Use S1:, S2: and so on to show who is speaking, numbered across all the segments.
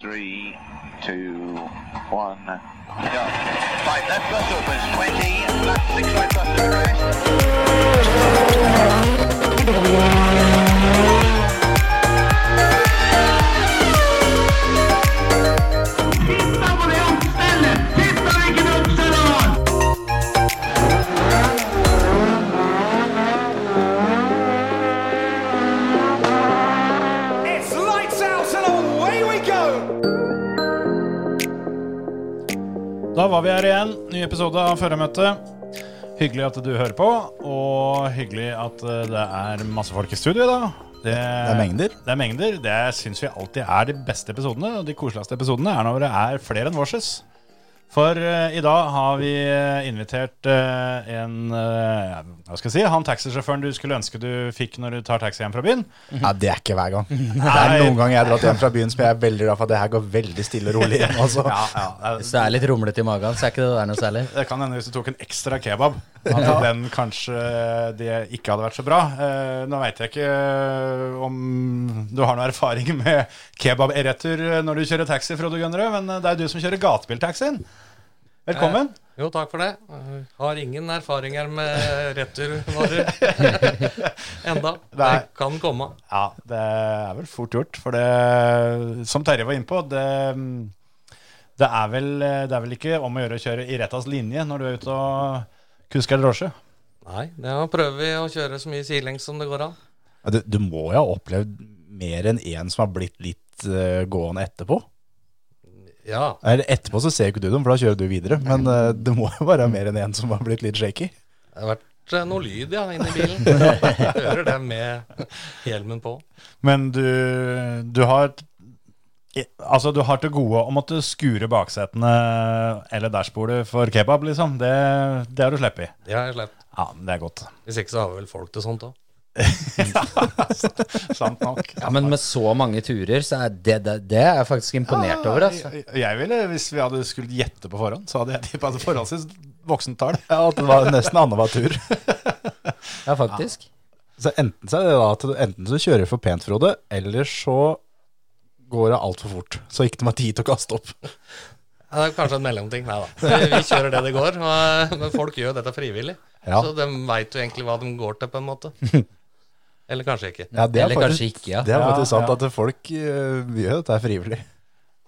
S1: Three, two, one. Go. Right, left bus opens. 20, left six right bus to the crest.
S2: It's lights out and away we go!
S3: Da var vi her igjen. Ny episode av Førermøtet. Hyggelig at du hører på, og hyggelig at eh, det er masse folk i studio i dag. Det,
S4: er mengder.
S3: Det er mengder. Det syns vi alltid er de beste episodene, og de koseligste episodene er når det er flere enn vårses. For eh, i dag har vi eh, invitert eh, en eh, Hva skal jeg si? Han taxisjåføren du skulle ønske du fikk når du tar taxi hjem fra byen.
S4: Nei, det er ikke hver gang. Det er noen ganger jeg har dratt hjem fra byen som jeg er veldig glad for at det her går veldig stille og rolig hjem. Altså.
S3: Ja, ja,
S5: Hvis du er litt rumlete i magen, så er ikke det der noe særlig.
S3: Det kan hende hvis du tok en ekstra kebab, at den kanskje eh, det ikke hadde vært så bra. Eh, nå veit jeg ikke eh, om du har noe erfaring med kebab i retur når du kjører taxi, Frode Gunnerød, men eh, det er du som kjører gatebiltaxien. Velkommen.
S4: Eh,
S6: Jo, takk for det. Jeg Har ingen erfaringer med returvarer enda. Det
S3: Nei.
S6: kan komme.
S3: Ja, det er vel fort gjort, for det Som Terje var inne på, det, det, er vel, det er vel ikke om å gjøre å kjøre i rettas linje når du er ute og kusker drosje.
S6: Nei, da prøver vi å kjøre så mye sidelengs som det går an.
S4: Ja, Du, du må jo ha opplevd mer enn én som har blitt litt eh, gående etterpå.
S6: Ja,
S4: Eller etterpå så ser jo ikke du dem, for da kjører du videre. Men eh, det må jo være mer enn én som har blitt litt shaky.
S6: det har vært eh, noe lyd ja, inni bilen. Hører det med hjelmen på.
S3: Men du, du har Altså, du har til gode å måtte skure baksetene eller dashbordet for kebab, liksom. Det, det har du sluppet.
S6: Det har jeg sluppet.
S3: Ja, men det er godt.
S6: Hvis ikke så har vi vel folk til sånt òg.
S3: Altså, Sant nok.
S5: Ja, Men med så mange turer, så er det, det, det er jeg faktisk imponert over. altså.
S3: Jeg, jeg ville, hvis vi hadde skulle gjette på forhånd, så hadde jeg tippa det forholdsvis voksent tall.
S4: Ja, at det var nesten annenhver tur.
S5: Ja, faktisk.
S4: Så enten så er det da at du- enten så kjører du for pent, Frode, eller så går det altfor fort. Så ikke de har tid til å kaste opp.
S6: Det er kanskje en mellomting. Nei da. Vi kjører det det går. og- eh, Men folk gjør dette frivillig.
S4: Ja.
S6: Så de veit jo egentlig hva de går til, på en måte. Eller kanskje ikke.
S4: Ja, det er
S5: Eller kanskje
S4: faktisk,
S5: ikke, ja.
S4: det er
S3: Ja,
S4: faktisk sant
S3: ja.
S4: at folk eh, gjør dette her frivillig.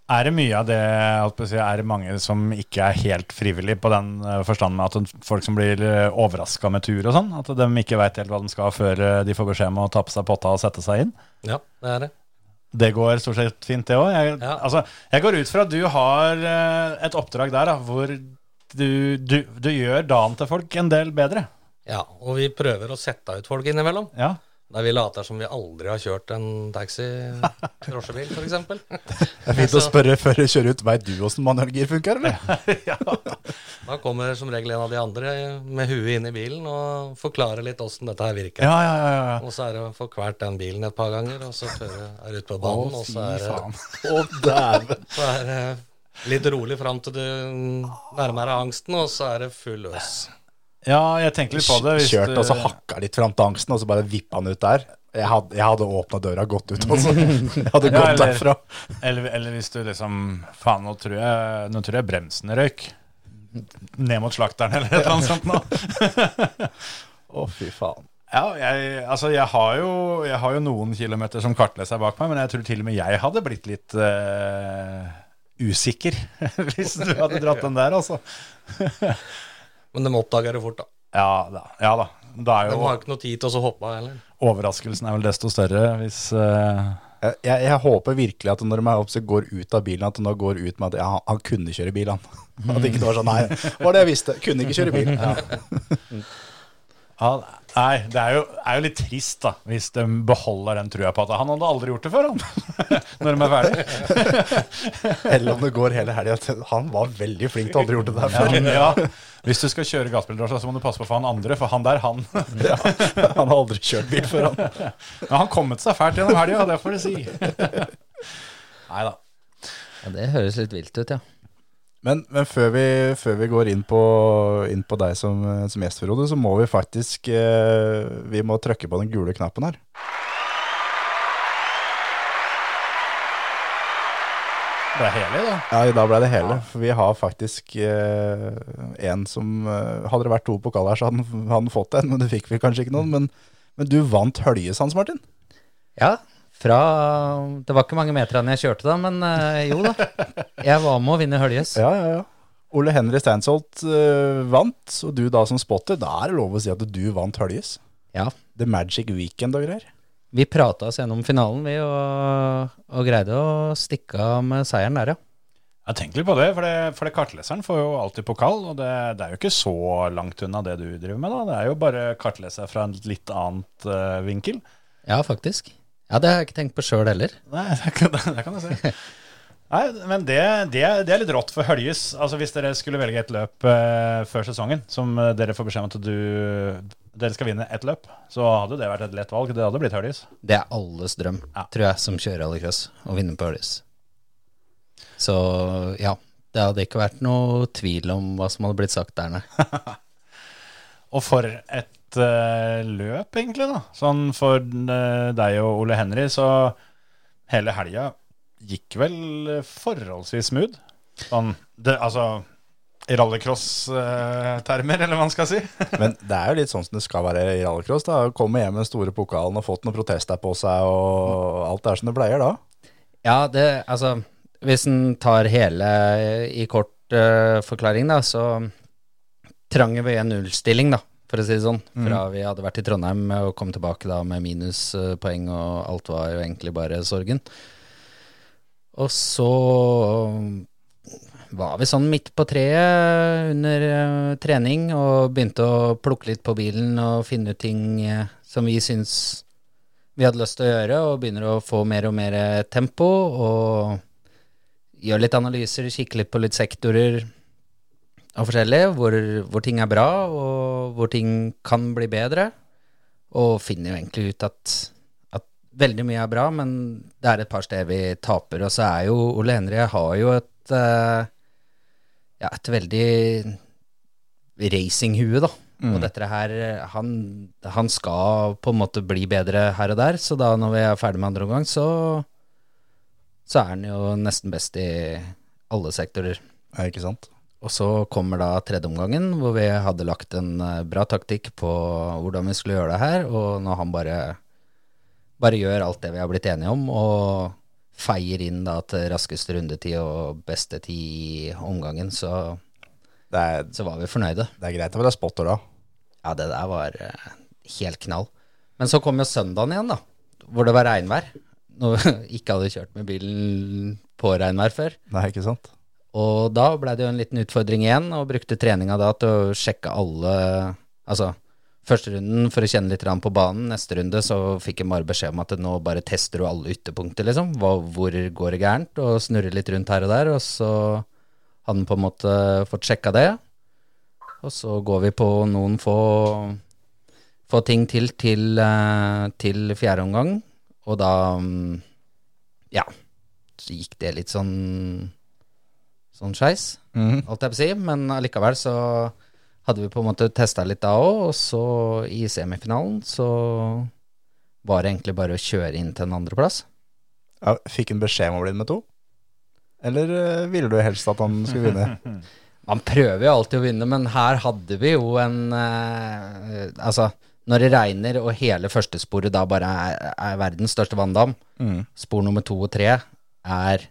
S3: Er det mye av det holdt på å si, Er det mange som ikke er helt frivillig på den eh, forstand med at folk som blir overraska med tur og sånn? At de ikke veit helt hva de skal før eh, de får beskjed om å ta på seg potta og sette seg inn?
S6: Ja, det er det.
S3: Det går stort sett fint, det òg. Jeg,
S6: Ja.
S3: altså, jeg går ut fra at du har eh, et oppdrag der da, hvor du, du, du gjør dagen til folk en del bedre.
S6: Ja, og vi prøver å sette ut folk innimellom.
S3: Ja.
S6: Der vi later som vi aldri har kjørt en taxi, drosjebil f.eks.
S4: Det er fint å spørre før du kjører ut. Veit du åssen manuellgir funker, eller?
S6: Da kommer som regel en av de andre med huet inn i bilen og forklarer litt åssen dette her virker.
S3: Ja, ja, ja, ja.
S6: Og så er det å få kvalt den bilen et par ganger, og så kjøre er ut på banen, og så er det,
S4: Å, dæven.
S6: så er det litt rolig fram til du nærmer deg angsten, og så er det full løs.
S3: ja, jeg tenker litt på det. hvis
S4: Kjørt altså,
S3: du-
S4: og så hakka litt fram til angsten, og så bare vippa han ut der. Jeg hadde, jeg hadde åpna døra og gått ut, altså. Jeg hadde
S3: Mm. Ja,
S4: gått
S3: eller-
S4: derfra.
S3: Eller, eller hvis du liksom Faen, nå tror jeg, nå tror jeg bremsen røyk. Ned mot slakteren eller et eller annet sånt nå.
S4: Å, fy faen.
S3: Ja, jeg, altså jeg, har jo, jeg har jo noen kilometer som kartleser bak meg, men jeg tror til og med jeg hadde blitt litt eh, usikker hvis du hadde dratt den der, altså.
S6: Men de oppdager det fort, da.
S3: Ja da. ja da. Da er
S6: De
S3: jo
S6: har ikke noe tid til å så hoppe av heller.
S3: Overraskelsen er vel desto større hvis eh,
S4: Jeg, jeg, jeg håper virkelig at når de er oppe, så går ut av bilen, at de da går ut med at ja, han kunne kjøre bil, han. At det ikke var sånn, nei, det var det jeg visste. Kunne ikke kjøre bil.
S3: ja, Nei, det er jo, er jo litt trist, da, hvis de beholder den trua på at han hadde aldri gjort det før, han. Når de er ferdig.
S4: Eller om det går hele helga. Han var veldig flink til å aldri gjort det der før.
S3: Ja, ja. Hvis du skal kjøre gatebildrasje, så må du passe på for han andre, for han der, han
S4: Ja. Han har aldri kjørt bil før, han.
S3: Men han kommet seg fælt gjennom helga, det får du si. Nei da.
S5: Ja, Det høres litt vilt ut, ja.
S4: Men, men før, vi, før vi går inn på, inn på deg som, som gjest, Frode, så må vi faktisk eh, Vi må trykke på den gule knappen her.
S3: Det er helig, da.
S4: Ja, i dag ble det hele. For vi har faktisk eh, en som eh, Hadde det vært to pokaler, så hadde han- hadde han fått en, men det fikk vi kanskje ikke noen. Men, men du vant Høljes, Hans Martin.
S5: Ja, fra Det var ikke mange meterne jeg kjørte da, men eh, jo da. Jeg var med å vinne Høljes.
S4: Ja, ja, ja. Ole Henry Steinsholt eh, vant, og du da som spotter, da er det lov å si at du vant Høljes.
S5: Ja.
S4: The Magic Weekend og greier.
S5: Vi prata oss gjennom finalen, vi, og, og greide å stikke av med seieren der, ja.
S3: Ja, tenk litt på det, for, det, for det kartleseren får jo alltid pokal, og det, det er jo ikke så langt unna det du driver med, da. Det er jo bare kartleser fra en litt annet eh, vinkel.
S5: Ja, faktisk. Ja, det har jeg ikke tenkt på sjøl heller.
S3: Nei, det kan, det kan jeg si. Nei, men det, det, det er litt rått for Høljes. Altså, hvis dere skulle velge et løp eh, før sesongen, som eh, dere får beskjed om at du, dere skal vinne ett løp, så hadde jo det vært et lett valg. Det hadde blitt Høljes.
S5: Det er alles drøm,
S3: Ja.
S5: tror jeg, som kjører rallycross, å vinne på Høljes. Så ja, det hadde ikke vært noe tvil om hva som hadde blitt sagt der, nei.
S3: Og for et eh, løp, egentlig, da. Sånn for eh, deg og Ole Henry, så hele helga gikk vel forholdsvis smooth. Sånn, det, altså i rallycross-termer, eller hva man skal si.
S4: Men det er jo litt sånn som det skal være i rallycross. da. Komme hjem med den store pokalen og fått noen protester på seg, og alt er som det pleier da.
S5: Ja, det, altså, hvis en tar hele i kort eh, forklaring, da, så trang vi en nullstilling, da, for å si det sånn. Fra vi hadde vært i Trondheim og kom tilbake da med minuspoeng, og alt var jo egentlig bare sorgen. Og så var vi sånn midt på treet under eh, trening og begynte å plukke litt på bilen og finne ut ting eh, som vi syns vi hadde lyst til å gjøre, og begynner å få mer og mer eh, tempo. Og gjør litt analyser, kikker litt på litt sektorer og forskjellig, hvor, hvor ting er bra, og hvor ting kan bli bedre. Og finner jo egentlig ut at, at veldig mye er bra, men det er et par steder vi taper. Og så er jo Ole Henry har jo et, eh, ja, et veldig racinghue, da. Og dette her, han, han skal på en måte bli bedre her og der, så da når vi er ferdig med andre omgang, så, så er han jo nesten best i alle sektorer.
S4: Ja, ikke sant?
S5: Og så kommer da tredje omgangen, hvor vi hadde lagt en eh, bra taktikk på hvordan vi skulle gjøre det her, og når han bare, bare gjør alt det vi har blitt enige om, og feier inn da til raskeste rundetid og beste tid i omgangen, så,
S4: Det er,
S5: så var vi fornøyde.
S4: det er greit å være spotter da.
S5: Ja, det der var eh, helt knall. Men så kom jo søndagen igjen, da. Hvor det var regnvær. Noe jeg ikke hadde kjørt med bilen på regnvær før.
S4: Nei, ikke sant?
S5: Og da ble det jo en liten utfordring igjen, og brukte treninga da til å sjekke alle Altså, første runden for å kjenne litt grann på banen. Neste runde så fikk jeg bare beskjed om at nå bare tester du alle ytterpunkter, liksom. Hva, hvor går det gærent? Og snurrer litt rundt her og der. Og så hadde han på en måte fått sjekka det. Og så går vi på noen få, få ting til til, eh, til fjerde omgang, og da mm, Ja, så gikk det litt sånn sånn skeis,
S4: Mhm.
S5: holdt jeg på å si. Men allikevel så hadde vi på en måte testa litt da òg, og så i semifinalen så var det egentlig bare å kjøre inn til en andreplass.
S4: Ja, fikk han beskjed om å bli med to? Eller eh, ville du helst at han skulle vinne?
S5: Man prøver jo alltid å vinne, men her hadde vi jo en eh, Altså, når det regner og hele førstesporet da bare er, er verdens største vanndam, spor nummer to og tre er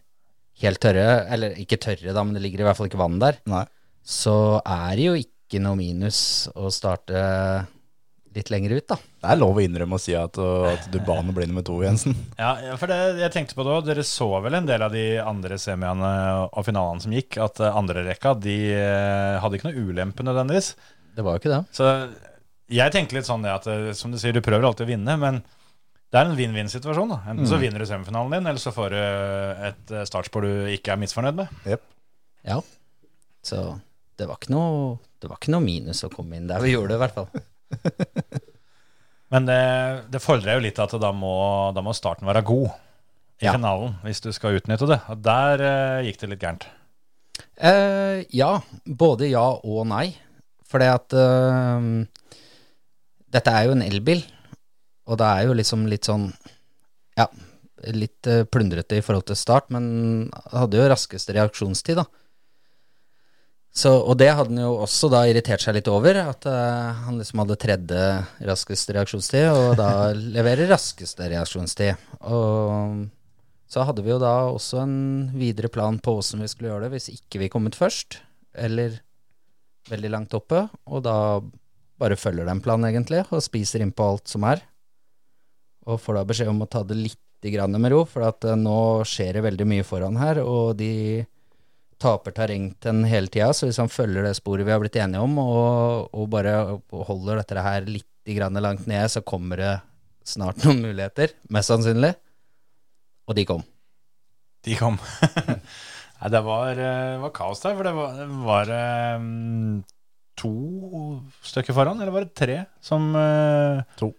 S5: helt tørre, eller ikke tørre da, men det ligger i hvert fall ikke vann der,
S4: Nei.
S5: så er det jo ikke noe minus å starte litt lenger ut, da.
S4: Det er lov å innrømme å si at, at du ba han å bli nummer to, Jensen.
S3: Ja, ja, for det, jeg tenkte på det også. Dere så vel en del av de andre semiene og finalene som gikk, at eh, andre rekka de eh, hadde ikke noe ulempe nødvendigvis.
S5: Det var jo ikke det.
S3: Så jeg tenker litt sånn det at eh, som du sier, du prøver alltid å vinne, men det er en vinn-vinn-situasjon. da. Enten så vinner du semifinalen din, eller så får du et eh, startspor du ikke er misfornøyd med.
S4: Jep.
S5: Ja. Så det var ikke noe, det var ikke noe minus å komme inn der vi gjorde det, i hvert fall.
S3: Men det, det fordrer jo litt at da må, da må starten være god i
S5: Ja.
S3: finalen, hvis du skal utnytte det. Og der eh, gikk det litt gærent.
S5: Eh, ja. Både ja og nei. Fordi at eh, dette er jo en elbil, og det er jo liksom litt sånn Ja, litt eh, plundrete i forhold til start, men hadde jo raskeste reaksjonstid, da. Så, og det hadde han jo også da irritert seg litt over, at eh, han liksom hadde tredje raskeste reaksjonstid, og da leverer raskeste reaksjonstid. Og så hadde vi jo da også en videre plan på åssen vi skulle gjøre det hvis ikke vi kommet først, eller veldig langt oppe, og da bare følger den planen egentlig, og spiser innpå alt som er. Og får da beskjed om å ta det litt grann med ro, for at eh, nå skjer det veldig mye foran her, og de taper terreng til den hele tida, så hvis han følger det sporet vi har blitt enige om, og, og bare holder dette her litt grann langt nede, så kommer det snart noen muligheter, mest sannsynlig. Og de kom.
S3: De kom. Nei, det var, eh, var kaos der, for det var, det var eh, to stykker foran, eller var det tre, som eh,
S4: To.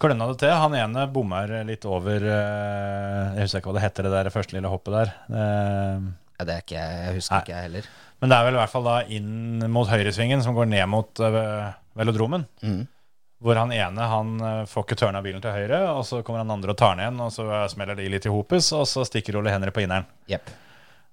S3: klønna det til. Han ene bommer litt over eh, Jeg husker ikke hva det heter, det der første lille hoppet der. Eh,
S5: Ja, det er ikke jeg, jeg husker
S3: Nei.
S5: ikke jeg heller.
S3: men det er vel i hvert fall da inn mot høyresvingen, som går ned mot eh, velodromen.
S5: Mm.
S3: Hvor han ene han eh, får ikke tørna bilen til høyre, og så kommer han andre og tar den igjen, og så eh, smeller de litt i hopus, og så stikker Ole Henry på inneren.
S5: Jepp.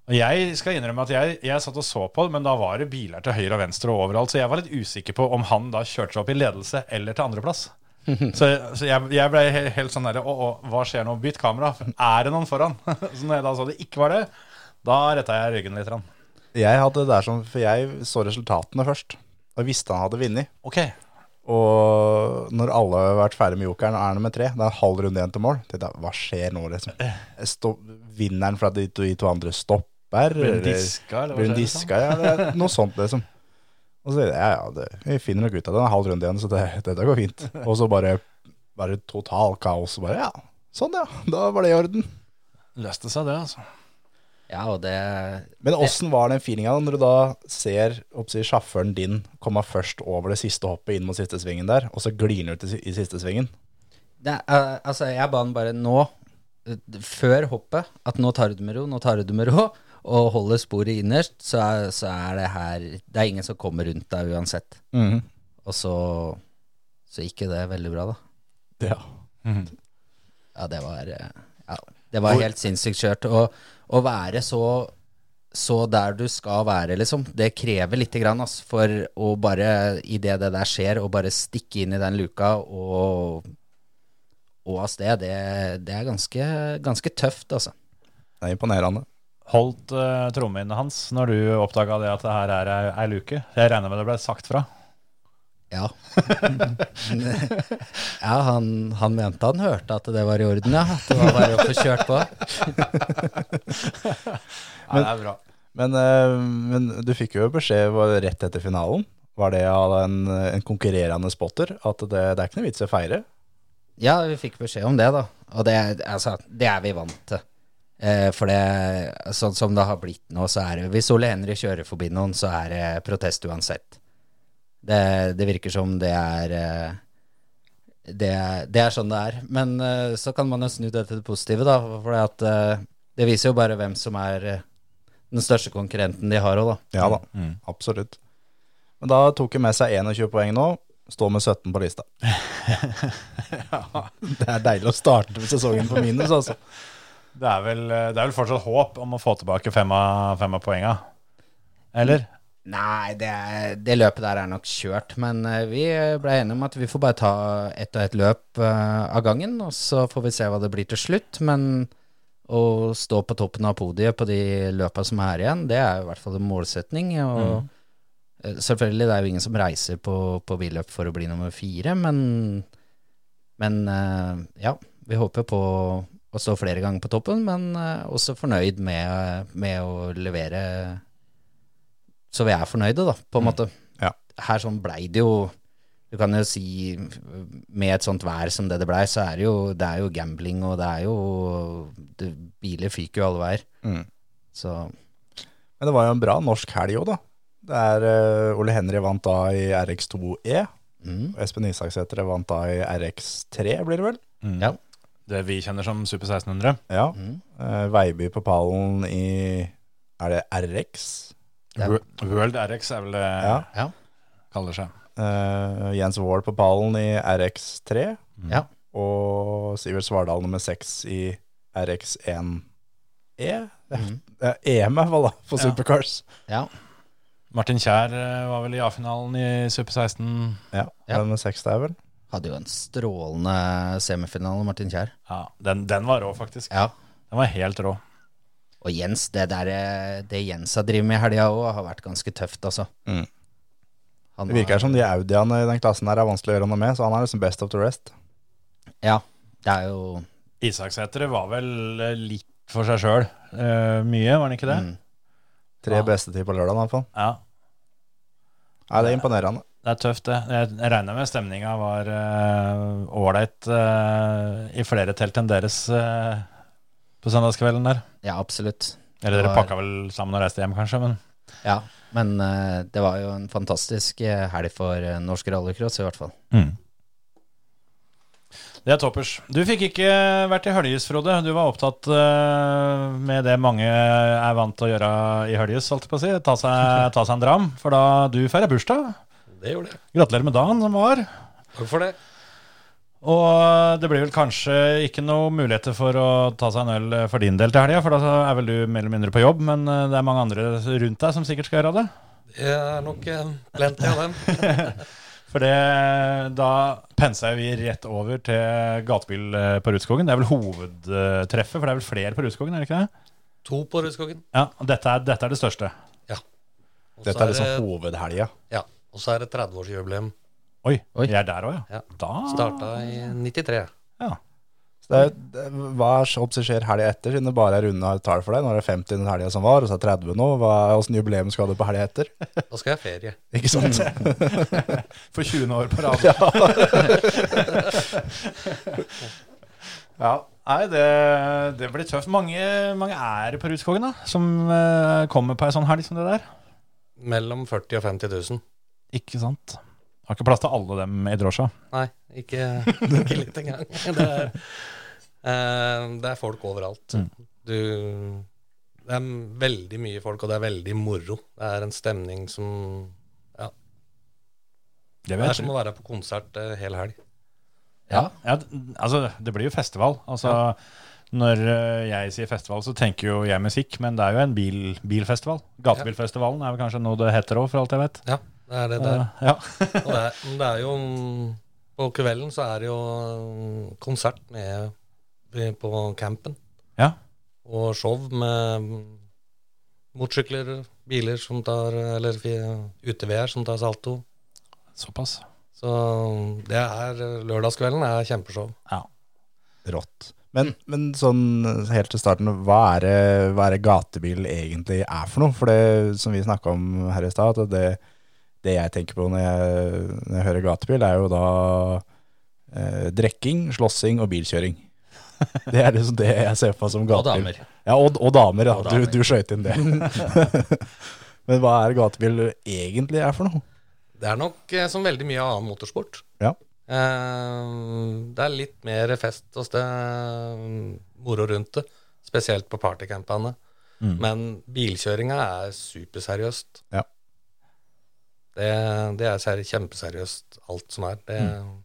S3: Og Jeg skal innrømme at jeg, jeg satt og så på det, men da var det biler til høyre og venstre og overalt, så jeg var litt usikker på om han da kjørte seg opp i ledelse eller til andreplass. Så, så jeg, jeg ble he- helt sånn derre Å, å, hva skjer nå? Bytt kamera. Er det noen foran? Så når jeg da så det ikke var det, da retta jeg ryggen litt. Rann.
S4: Jeg hadde det der som, for jeg så resultatene først, og visste han hadde vunnet.
S3: Ok.
S4: Og når alle har vært ferdig med jokeren, er han med tre. Det er en halv runde igjen til mål. Tenkte jeg, hva skjer nå, liksom?
S3: Eh.
S4: Stopp, vinner han for at de to, de to andre stopper?
S3: Blir den
S4: eller-
S3: diska, eller hva
S4: Blir den
S3: skjer, liksom?
S4: diska, ja. Det er noe sånt, liksom. Og så sier jeg, ja, ja, det, vi finner nok ut av det. Det er en halv runde igjen, så det, dette går fint. Og så bare, bare total kaos. Bare, ja, sånn ja, da var det i orden.
S3: Løste seg det, altså.
S5: Ja, og det
S4: Men åssen var den feelinga når du da ser oppsi, sjåføren din komme først over det siste hoppet inn mot siste svingen der, og så glir han ut i si- i siste svingen?
S5: det, eh, Altså, jeg ba han bare nå, eh, før hoppet, at nå tar du det med ro, nå tar du det med ro, og holder sporet innerst, så er, så er det her Det er ingen som kommer rundt deg uansett. Og så Så gikk jo det veldig bra, da.
S4: Ja.
S5: Ja, det var, eh, ja, det var helt sinnssykt kjørt. Og å være så, så der du skal være, liksom, det krever lite grann, ass, for å bare, idet det der skjer, å bare stikke inn i den luka og, og av sted, det, det er ganske, ganske tøft, altså.
S4: Det er imponerende.
S3: Holdt uh, trommehinnene hans når du oppdaga det at det her er ei, ei luke? Jeg regner med det ble sagt fra.
S5: Ja. ja, han, han mente han hørte at det var i orden, ja. At det var bare å få kjørt på.
S3: Nei, det er bra.
S4: Men, eh, men du fikk jo beskjed var det rett etter finalen. Var det av en, en konkurrerende spotter at det, det er ikke noe vits i å feire?
S5: Ja, vi fikk beskjed om det, da. Og det, altså, det er vi vant til. Eh, for det, sånn som det har blitt nå, så er det Hvis Ole Henry kjører forbi noen, så er det protest uansett. Det, det virker som det er eh, det, er- det er sånn det er. Men eh, så kan man jo snu det til det positive, da. For at, eh, det viser jo bare hvem som er eh, den største konkurrenten de har òg, da.
S4: Ja da, Mm. absolutt. Men da tok hun med seg 21 poeng nå. Står med 17 på lista. Det er deilig å starte sesongen på minus, altså.
S3: Det er vel, eh, det er vel fortsatt håp om å få tilbake fem av, fem av poenga. Eller?
S5: Nei, det, er- det løpet der er nok kjørt, men eh, vi ble enige om at vi får bare ta ett og ett løp eh, av gangen, og så får vi se hva det blir til slutt. Men å stå på toppen av podiet på de løpa som er igjen, det er i hvert fall en målsetning. Og eh, selvfølgelig, det er jo ingen som reiser på, på billøp for å bli nummer fire, men, men eh, ja, vi håper på å stå flere ganger på toppen, men eh, også fornøyd med, med å levere så vi er fornøyde, da, på en måte.
S4: Mm. Ja.
S5: Her sånn blei det jo Du kan jo si med et sånt vær som det det blei, så er det jo, det er jo gambling, og det er jo det, Biler fyker jo alle veier.
S4: Mm.
S5: Så
S4: Men det var jo en bra norsk helg òg, da. Det er eh, Ole Henry vant da i RX2E.
S5: mm,
S4: Og E. Espen Isaksæter vant da i RX3, blir det vel?
S5: ja.
S3: Mm. Det vi kjenner som Super 1600.
S4: Ja.
S5: Mm.
S4: Eh, Veiby på pallen i Er det RX?
S5: Det er-
S3: Wo- World RX er vel det
S4: Ja.
S5: Ja.
S3: kaller seg.
S4: Eh, Jens Wahl på pallen i RX3.
S5: Ja.
S4: Og Sivert Svardal nummer seks i RX1E. E. Det er EM i hvert fall, da, for
S3: Ja.
S4: supercars.
S5: Ja.
S3: Martin Kjær eh, var vel i A-finalen i Super 16.
S4: Ja,
S5: Ja.
S4: Den med seks der, vel.
S5: Hadde jo en strålende semifinale, Martin Kjær.
S3: Ja, den, den var rå, faktisk.
S5: Ja.
S3: Den var helt rå.
S5: Og Jens, det, der, eh, det Jens har drevet med i helga òg, har vært ganske tøft, altså.
S4: Mm.
S5: Han
S4: Det virker sånn.
S5: har-
S4: som de Audiene i den klassen her er vanskelig å gjøre noe med, så han er liksom best of the rest.
S5: Ja. Det er jo
S3: Isaksæter var vel eh, litt for seg sjøl mye, var han ikke det?
S5: Mm.
S4: Tre
S3: Ja.
S4: beste tid på lørdag, i hvert fall.
S3: Ja.
S4: Nei, det er imponerende.
S3: Det er tøft, det. Jeg jeg regner med stemninga var eh, ålreit eh, i flere telt enn deres eh, på søndagskvelden der.
S5: Ja, absolutt.
S3: Eller
S5: Det
S3: dere
S5: var-
S3: pakka vel sammen og reiste hjem, kanskje, men
S5: Ja. Men eh, det var jo en fantastisk eh, helg for eh, norsk rallycross, i hvert fall.
S3: Det er toppers. Du fikk ikke vært i Høljes, Frode. Du var opptatt eh, med det mange er vant til å gjøre i Høljes, holdt jeg på å si. Ta seg, ta seg en dram. For da du feirer bursdag.
S6: Det gjorde jeg.
S3: Gratulerer med dagen som var.
S6: Takk for det.
S3: Og det blir vel kanskje ikke noe muligheter for å ta seg en øl for din del til helga, for da er vel du mer eller mindre på jobb, men eh, det er mange andre rundt deg som sikkert skal gjøre det.
S6: Det er nok eh, plenty av dem.
S3: For det, da penser vi rett over til gatebil eh, på Rudskogen. Det er vel hovedtreffet, for det er vel flere på Rudskogen, er det ikke det?
S6: To på Rudskogen.
S3: Ja, og dette er, dette er det største.
S6: Og så
S4: Dette er
S6: det-
S4: liksom hovedhelga.
S6: Ja. Og så er det 30-årsjubileum.
S3: Oi,
S5: Oi.
S3: vi er der òg, ja.
S6: Ja.
S3: Da
S6: Starta i 93.
S3: ja.
S4: Så det er, det, hva er så- oppsett skjer helga etter, siden det bare er runda tall for deg? Nå er det 50 den helga som var, og så er det 30 nå. Hva- Åssen jubileum skal du på helga etter?
S6: Da skal jeg ha ferie.
S4: Ikke sant?
S5: Mm.
S3: For 20. år på rad. ja. Nei, det, det blir tøft. Mange, mange er det på Rudskogen, da, som eh, kommer på ei sånn helg som det der.
S6: Mellom 40 og 50 000.
S3: Ikke sant? Har ikke plass til alle dem i drosja.
S6: Nei, ikke, ikke litt engang. Det er, eh, det er folk overalt.
S4: Mm.
S6: Du, det er veldig mye folk, og det er veldig moro. Det er en stemning som ja,
S3: Det
S6: Det er som å være på konsert eh, hel helg.
S5: Ja.
S3: Ja, d- altså, det blir jo festival. Altså, Når eh, jeg sier festival, så tenker jo jeg musikk, men det er jo en bil, bilfestival. Gatebilfestivalen er vel kanskje noe det heter òg, for alt jeg vet.
S6: Ja, det er det der.
S3: Eh, ja.
S6: Og det er, men det er jo På kvelden så er det jo konsert nede på campen.
S3: Ja.
S6: Og show med motorsykler, biler som tar Eller fi- utevær som tar salto.
S3: Såpass.
S6: Så det er lørdagskvelden er kjempeshow.
S4: Rått. Men, men sånn helt til starten, hva er, det, hva er det gatebil egentlig er for noe? For det som vi snakka om her i stad, at det, det jeg tenker på når jeg, når jeg hører gatebil, er jo da eh, drikking, slåssing og bilkjøring. Det er liksom det jeg ser på som
S5: Og
S4: gatebil.
S5: damer.
S4: Ja, og, og damer, ja.
S5: Og damer.
S4: Du, du skøyt inn det. Men hva er gatebil egentlig er for noe?
S6: Det er nok eh, som veldig mye annen motorsport.
S4: Ja.
S6: Eh, det er litt mer fest og sted, moro rundt det, spesielt på partycampene.
S3: Mm.
S6: Men bilkjøringa er superseriøst.
S4: Ja.
S6: Det, det er ser- kjempeseriøst, alt som er. Det,
S3: Mm.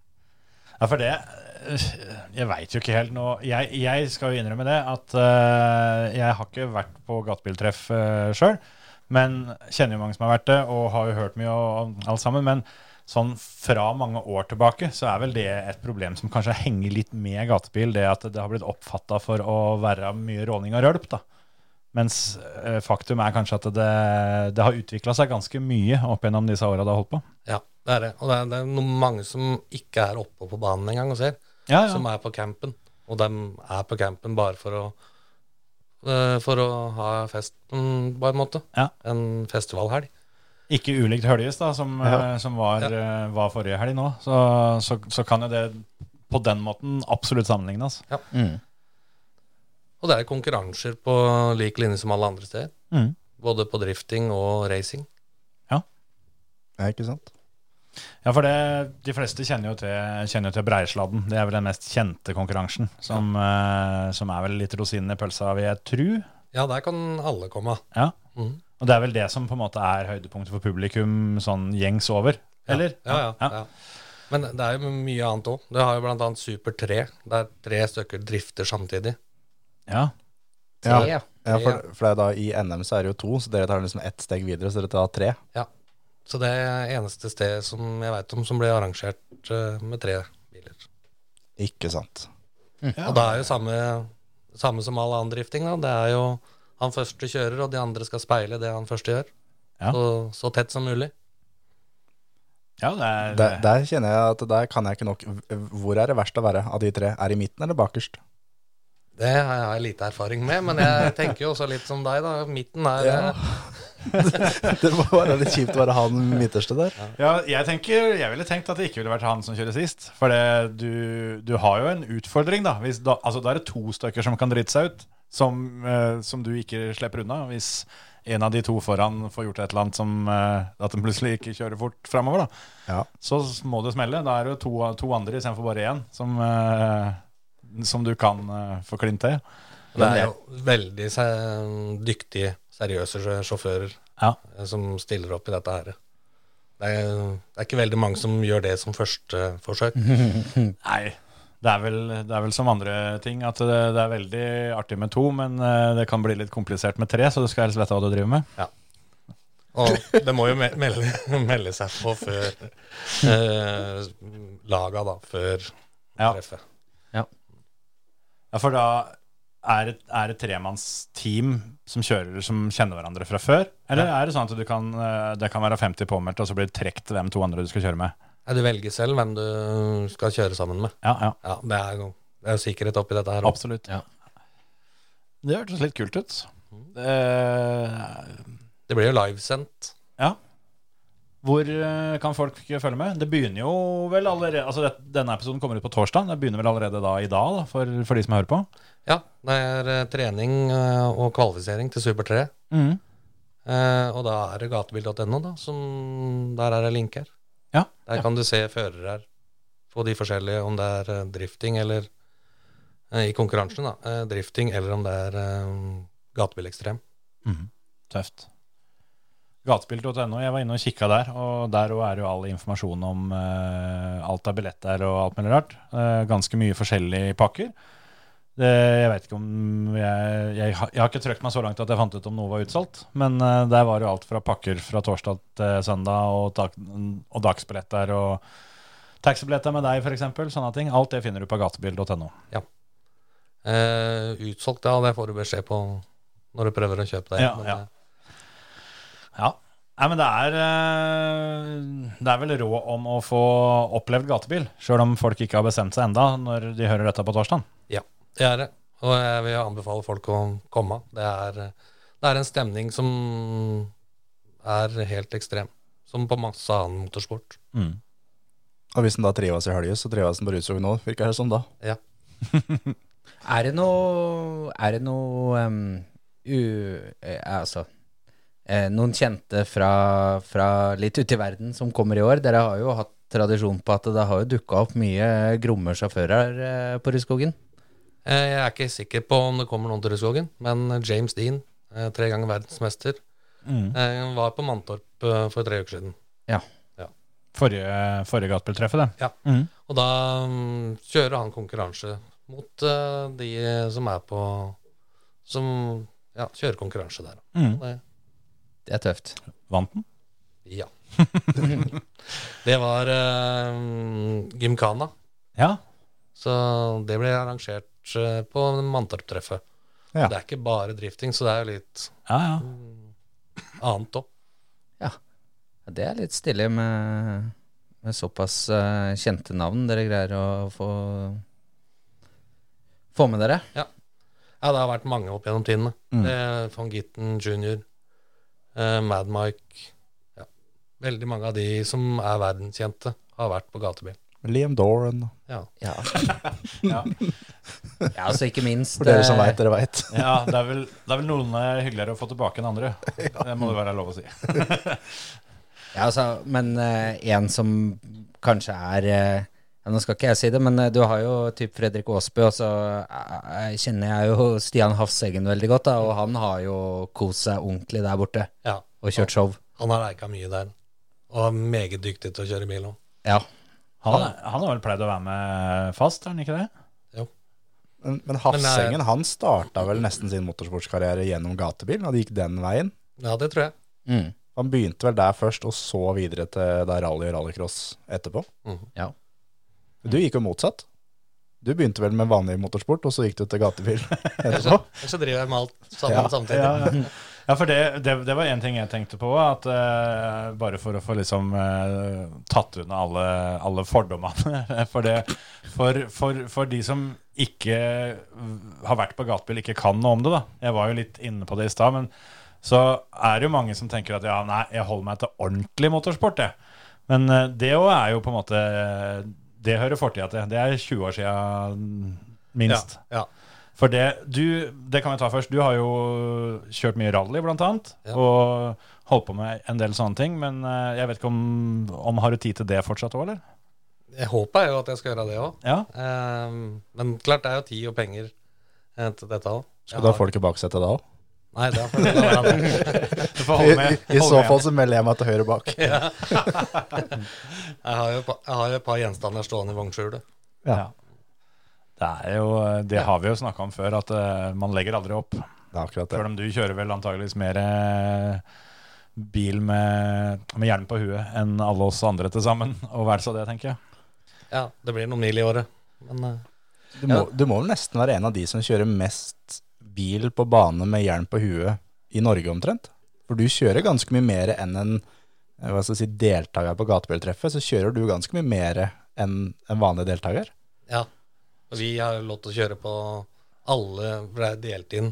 S3: Ja, for det øh, Jeg veit jo ikke helt nå. Jeg, jeg skal jo innrømme det at eh, jeg har ikke vært på gatebiltreff uh, sjøl. Men kjenner jo mange som har vært det, og har jo hørt mye om alt sammen. Men sånn fra mange år tilbake så er vel det et problem som kanskje henger litt med gatebil. Det at det har blitt oppfatta for å være mye råning og rølp, da. Mens eh, faktum er kanskje at det, det har utvikla seg ganske mye opp gjennom disse åra det har holdt på.
S6: ja, det er det. Og det er, det er no- mange som ikke er oppe på banen engang og ser.
S3: Ja,
S6: som er på campen. Og de er på campen bare for å eh, For å ha festen, på en måte.
S3: Ja.
S6: En festivalhelg.
S3: Ikke ulikt Høljes, da, som, eh, som var, eh, var forrige helg nå. Så, så, så kan jo det på den måten absolutt sammenlignes.
S5: Mm.
S6: Og det er konkurranser på lik linje som alle andre steder.
S3: Mm.
S6: Både på drifting og racing.
S4: Ja, ikke sant?
S3: Ja, for det, de fleste kjenner jo til, kjenner jo til Breisladden. Det er vel den mest kjente konkurransen, som, eh, som er vel litt rosinen i pølsa, vil jeg tru.
S6: Ja, der kan alle komme.
S3: Ja.
S6: Mhm.
S3: Og det er vel det som på en måte er høydepunktet for publikum sånn gjengs over, eller?
S6: Ja, ja, ja, Men det er jo mye annet òg. Du har jo bl.a. Super 3, der tre stykker drifter samtidig.
S3: Ja.
S5: Tre, ja.
S4: Ja, ja for, for det er da i NM så er det jo to, så dere tar liksom ett steg videre, så dere tar tre.
S6: Så det er eneste sted som jeg veit om som ble arrangert eh, med tre biler.
S4: Ikke sant.
S6: Og det er jo samme, samme som all annen drifting. Da. Det er jo han første kjører, og de andre skal speile det han første gjør.
S3: Ja.
S6: Så, så tett som mulig.
S3: ja, det er
S4: Der, der kjenner jeg at der kan jeg ikke nok. Hvor er det verst å være av de tre? Er det i midten eller bakerst?
S6: Det har jeg lite erfaring med, men jeg tenker jo også litt som deg, da. Midten er eh,
S4: Ja. Det må være litt kjipt å være han midterste der.
S3: Ja, jeg, tenker, jeg ville tenkt at det ikke ville vært han som kjører sist. For det, du, du har jo en utfordring, da. Hvis da. Altså, da er det to stykker som kan drite seg ut, som, eh, som du ikke slipper unna. Hvis en av de to foran får gjort et eller annet som eh, at den plutselig ikke kjører fort framover, da.
S4: Ja.
S3: Så må det smelle. Da er det jo to, to andre istedenfor bare én som, eh, som du kan eh, få klint til.
S6: Det er jo veldig se- dyktige, seriøse sjø- sjåfører
S3: Ja.
S6: eh, som stiller opp i dette her. Det er, det er ikke veldig mange som gjør det som første forsøk.
S3: Nei. Det er, vel, det er vel som andre ting, at det, det er veldig artig med to, men eh, det kan bli litt komplisert med tre, så du skal helst vite hva du driver med.
S6: Og det må jo me melde, melde seg på før eh, laga, da. Før
S3: Ja.
S6: treffet.
S3: Ja, for da er det, er det tremannsteam som kjører som kjenner hverandre fra før? Eller er det sånn at du kan, eh, det kan være 50 påmeldte, og så blir det trukket hvem to andre du skal kjøre med?
S6: Nei, Du velger selv hvem du skal kjøre sammen med.
S3: Ja, ja,
S6: Ja, Det er jo, det er jo sikkerhet oppi dette her. også.
S3: absolutt. Det hørtes litt kult ut. Eh,
S6: Det blir jo livesendt.
S3: ja. Hvor eh, kan folk følge med? Det begynner jo vel allerede Altså det, Denne episoden kommer ut på torsdag. Det begynner vel allerede da i dag, da, for, for de som hører på.
S6: Ja, det er eh, trening eh, og kvalifisering til Super 3. Eh, og da er det gatebil.no, da. Som, der er det link her.
S3: Ja,
S6: Der
S3: ja.
S6: kan du se førere her på de forskjellige, om det er eh, drifting eller eh, I konkurransen, da. eh, drifting eller om det er eh, gatebilekstrem.
S3: Mhm. Tøft. Gatespill.no, jeg var inne og kikka der, og der også er jo all informasjon om eh, alt av billetter og alt mulig rart. Eh, ganske mye forskjellige pakker. Det, jeg vet ikke om jeg, jeg, har- jeg har ikke trøkt meg så langt at jeg fant ut om noe var utsolgt, men eh, der var jo alt fra pakker fra torsdag til søndag, og, dag, og dagsbilletter og taxibilletter med deg, f.eks. Sånne ting. Alt det finner du på gatebil.no.
S6: Eh, utsolgt, ja, det får du beskjed på når du prøver å kjøpe det.
S3: Ja,
S6: Men,
S3: ja.
S6: eh,
S3: Ja. Nei, men det er, eh, det er vel råd om å få opplevd gatebil, sjøl om folk ikke har bestemt seg enda når de hører dette på torsdag.
S6: Det er det. Og jeg vil anbefale folk å komme. Det er, det er en stemning som er helt ekstrem. Som på masse annen motorsport.
S3: Mm.
S4: Og hvis han da trives i helga, så trives han på Rudskogen nå, virker det som da.
S6: Ja.
S5: Er det noe Er det noe em, u, eh, Altså eh, Noen kjente fra, fra litt ute i verden som kommer i år? Dere har jo hatt tradisjon på at det har jo dukka opp mye gromme sjåfører eh, på Rudskogen.
S6: Eh, Jeg er ikke sikker på om det kommer noen til Rudskogen, men James Dean, eh, tre ganger verdensmester,
S3: Mm.
S6: eh, var på Mantorp eh, for tre uker siden.
S5: Ja.
S3: Forrige, forrige gatebiltreffet, det.
S6: Ja. Og da mm, kjører han konkurranse mot eh, de som er på Som ja, kjører konkurranse der.
S3: Mm.
S6: Det,
S5: Det er tøft.
S3: Vant den?
S6: Ja. det var uh, Gymkhana,
S3: Ja.
S6: så det ble arrangert eh, på Mantorp-treffet.
S4: Ja.
S6: Det er ikke bare drifting, så det er jo litt
S3: ja, ja.
S6: annet òg.
S5: Ja. Ja, Det er litt stilig med, med såpass eh, kjente navn dere greier å få Få med dere.
S6: Ja, det har vært mange opp gjennom tidene. Det er Van Gitten jr., eh, Mad Mike ja. Veldig mange av de som er verdenskjente, har vært på gatebil.
S4: Liam Doran.
S6: Ja.
S5: Ja.
S3: Ja.
S5: ja, altså ikke minst
S4: For dere som
S5: eh,
S4: veit, dere veit.
S3: ja det, er vel, det er vel noen eh, hyggeligere å få tilbake enn andre. Det må det være lov å si.
S5: Ja, altså, men eh, en som kanskje er eh, ja, Nå skal ikke jeg si det, men eh, du har jo typ Fredrik Aasbø, og så eh, eh, kjenner jeg jo Stian Hafseggen veldig godt, da, og han har jo kost seg ordentlig der borte
S6: ja.
S5: og kjørt show.
S6: Han har leika mye der. Og er meget dyktig til å kjøre bil òg.
S5: Ja.
S3: Han, han har vel pleid å være med fast, er han ikke det?
S6: Jo.
S4: Men,
S3: eh,
S4: men Hafsengen han starta vel nesten sin motorsportskarriere gjennom gatebil. Han gikk den veien.
S6: Ja, det tror jeg.
S5: Mm.
S4: Han begynte vel der først, og så videre til da rally og rallycross etterpå.
S3: Mm.
S5: Ja.
S4: Du gikk jo motsatt. Du begynte vel med vanlig motorsport, og så gikk du til gatebil etterpå.
S6: Ellers så driver jeg med alt sammen
S4: Ja,
S6: samtidig.
S3: Ja, ja. ja for det, det, det var en ting jeg tenkte på. At eh, Bare for å få liksom eh, tatt unna alle, alle fordommene. For, det, for, for, for de som ikke har vært på gatebil, ikke kan noe om det. da Jeg var jo litt inne på det i stad, men så er det jo mange som tenker at ja, nei, jeg holder meg til ordentlig motorsport, jeg. Men eh, det òg er jo på en måte eh, Det hører fortida til. Det er 20 år sia, minst.
S6: Ja,
S3: For det, du, det kan vi ta først. Du har jo kjørt mye rally, blant annet.
S6: Ja.
S3: Og holdt på med en del sånne ting. Men eh, jeg vet ikke om, om Har du tid til det fortsatt òg, eller?
S6: Jeg håper jo at jeg skal gjøre det òg.
S3: Ja.
S6: men klart, det er jo tid og penger eh, til dette òg.
S4: Skal du ha folk i baksetet da òg?
S6: Nei, det får jeg la være. med.
S3: Du får
S4: I,
S3: holde med.
S4: I
S3: holde
S4: så
S3: med.
S4: fall så melder jeg meg til høyre bak.
S6: Jeg har jo et par- jeg har jo et par gjenstander stående i vognskjulet.
S3: Ja. Det er jo Det har vi jo snakka om før, at eh, man legger aldri opp.
S4: Det er akkurat det.
S3: Selv om du kjører vel antageligvis mer eh, bil med, med hjelm på huet enn alle oss andre til sammen. Og hver så det, tenker jeg.
S6: Ja, det blir noen mil i året. Men eh,
S4: Du må, du må vel nesten være en av de som kjører mest bil på bane med hjelm på huet i Norge omtrent. For du kjører ganske mye mer enn en eh, hva skal jeg si, deltaker på gatebiltreffet, så kjører du ganske mye mer enn en vanlig deltaker.
S6: ja. Og Vi har jo lov til å kjøre på alle For det er delt inn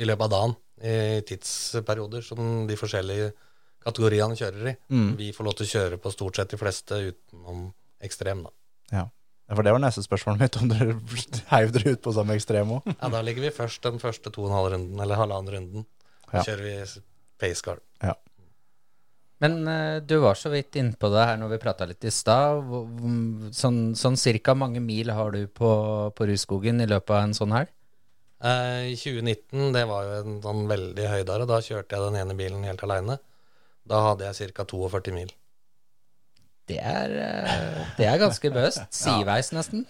S6: i løpet av dagen i tidsperioder som de forskjellige kategoriene kjører i.
S4: Mm.
S6: Vi får lov til å kjøre på stort sett de fleste utenom ekstrem, da.
S4: For det var neste spørsmålet mitt, om dere heiv dere ut på samme ekstrem òg.
S6: Ja, da ligger vi først den første to og en halv runden, eller halvannen runden.
S4: Ja.
S6: Så kjører vi paceguard.
S5: Men eh, du var så vidt innpå det her når vi prata litt i stad. Hvor- hvor- Sånn, sånn cirka mange mil har du på, på Rudskogen i løpet av en sånn helg?
S6: Eh, I 2019, det var jo en sånn veldig høydare, da kjørte jeg den ene bilen helt aleine. Da hadde jeg ca. 42 mil.
S5: Det er, eh, det er ganske bøst. Sideveis, nesten.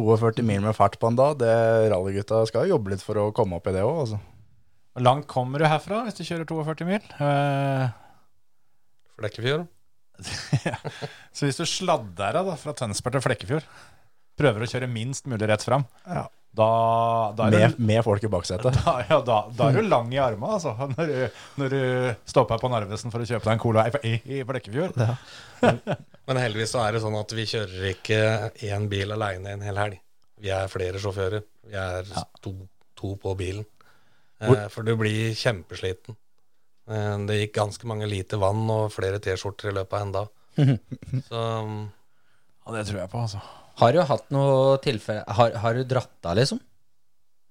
S4: 42 mil med fart på en dag, det rallygutta skal jobbe litt for å komme opp i det òg, altså.
S3: Hvor langt kommer du herfra hvis du kjører 42 mil? Eh,
S6: Flekkefjord.
S3: Så hvis du sladder deg da, fra Tønsberg til Flekkefjord, prøver å kjøre minst mulig rett fram,
S4: Ja.
S3: da, da, er
S4: Med,
S3: du,
S4: med folk i baksetet.
S3: da, ja, da, da er du lang i armene, altså, når du, når du stopper på Narvesen for å kjøpe deg en cola i, i Flekkefjord.
S6: Men heldigvis så er det sånn at vi kjører ikke én bil aleine en hel helg. Vi er flere sjåfører. Vi er to, to på bilen. Eh, for du blir kjempesliten. Eh, det gikk ganske mange liter vann og flere T-skjorter i løpet av en dag. Så um,
S3: Ja, det tror jeg på, altså.
S5: Har du hatt noe tilfelle Har, har du dratt av, liksom?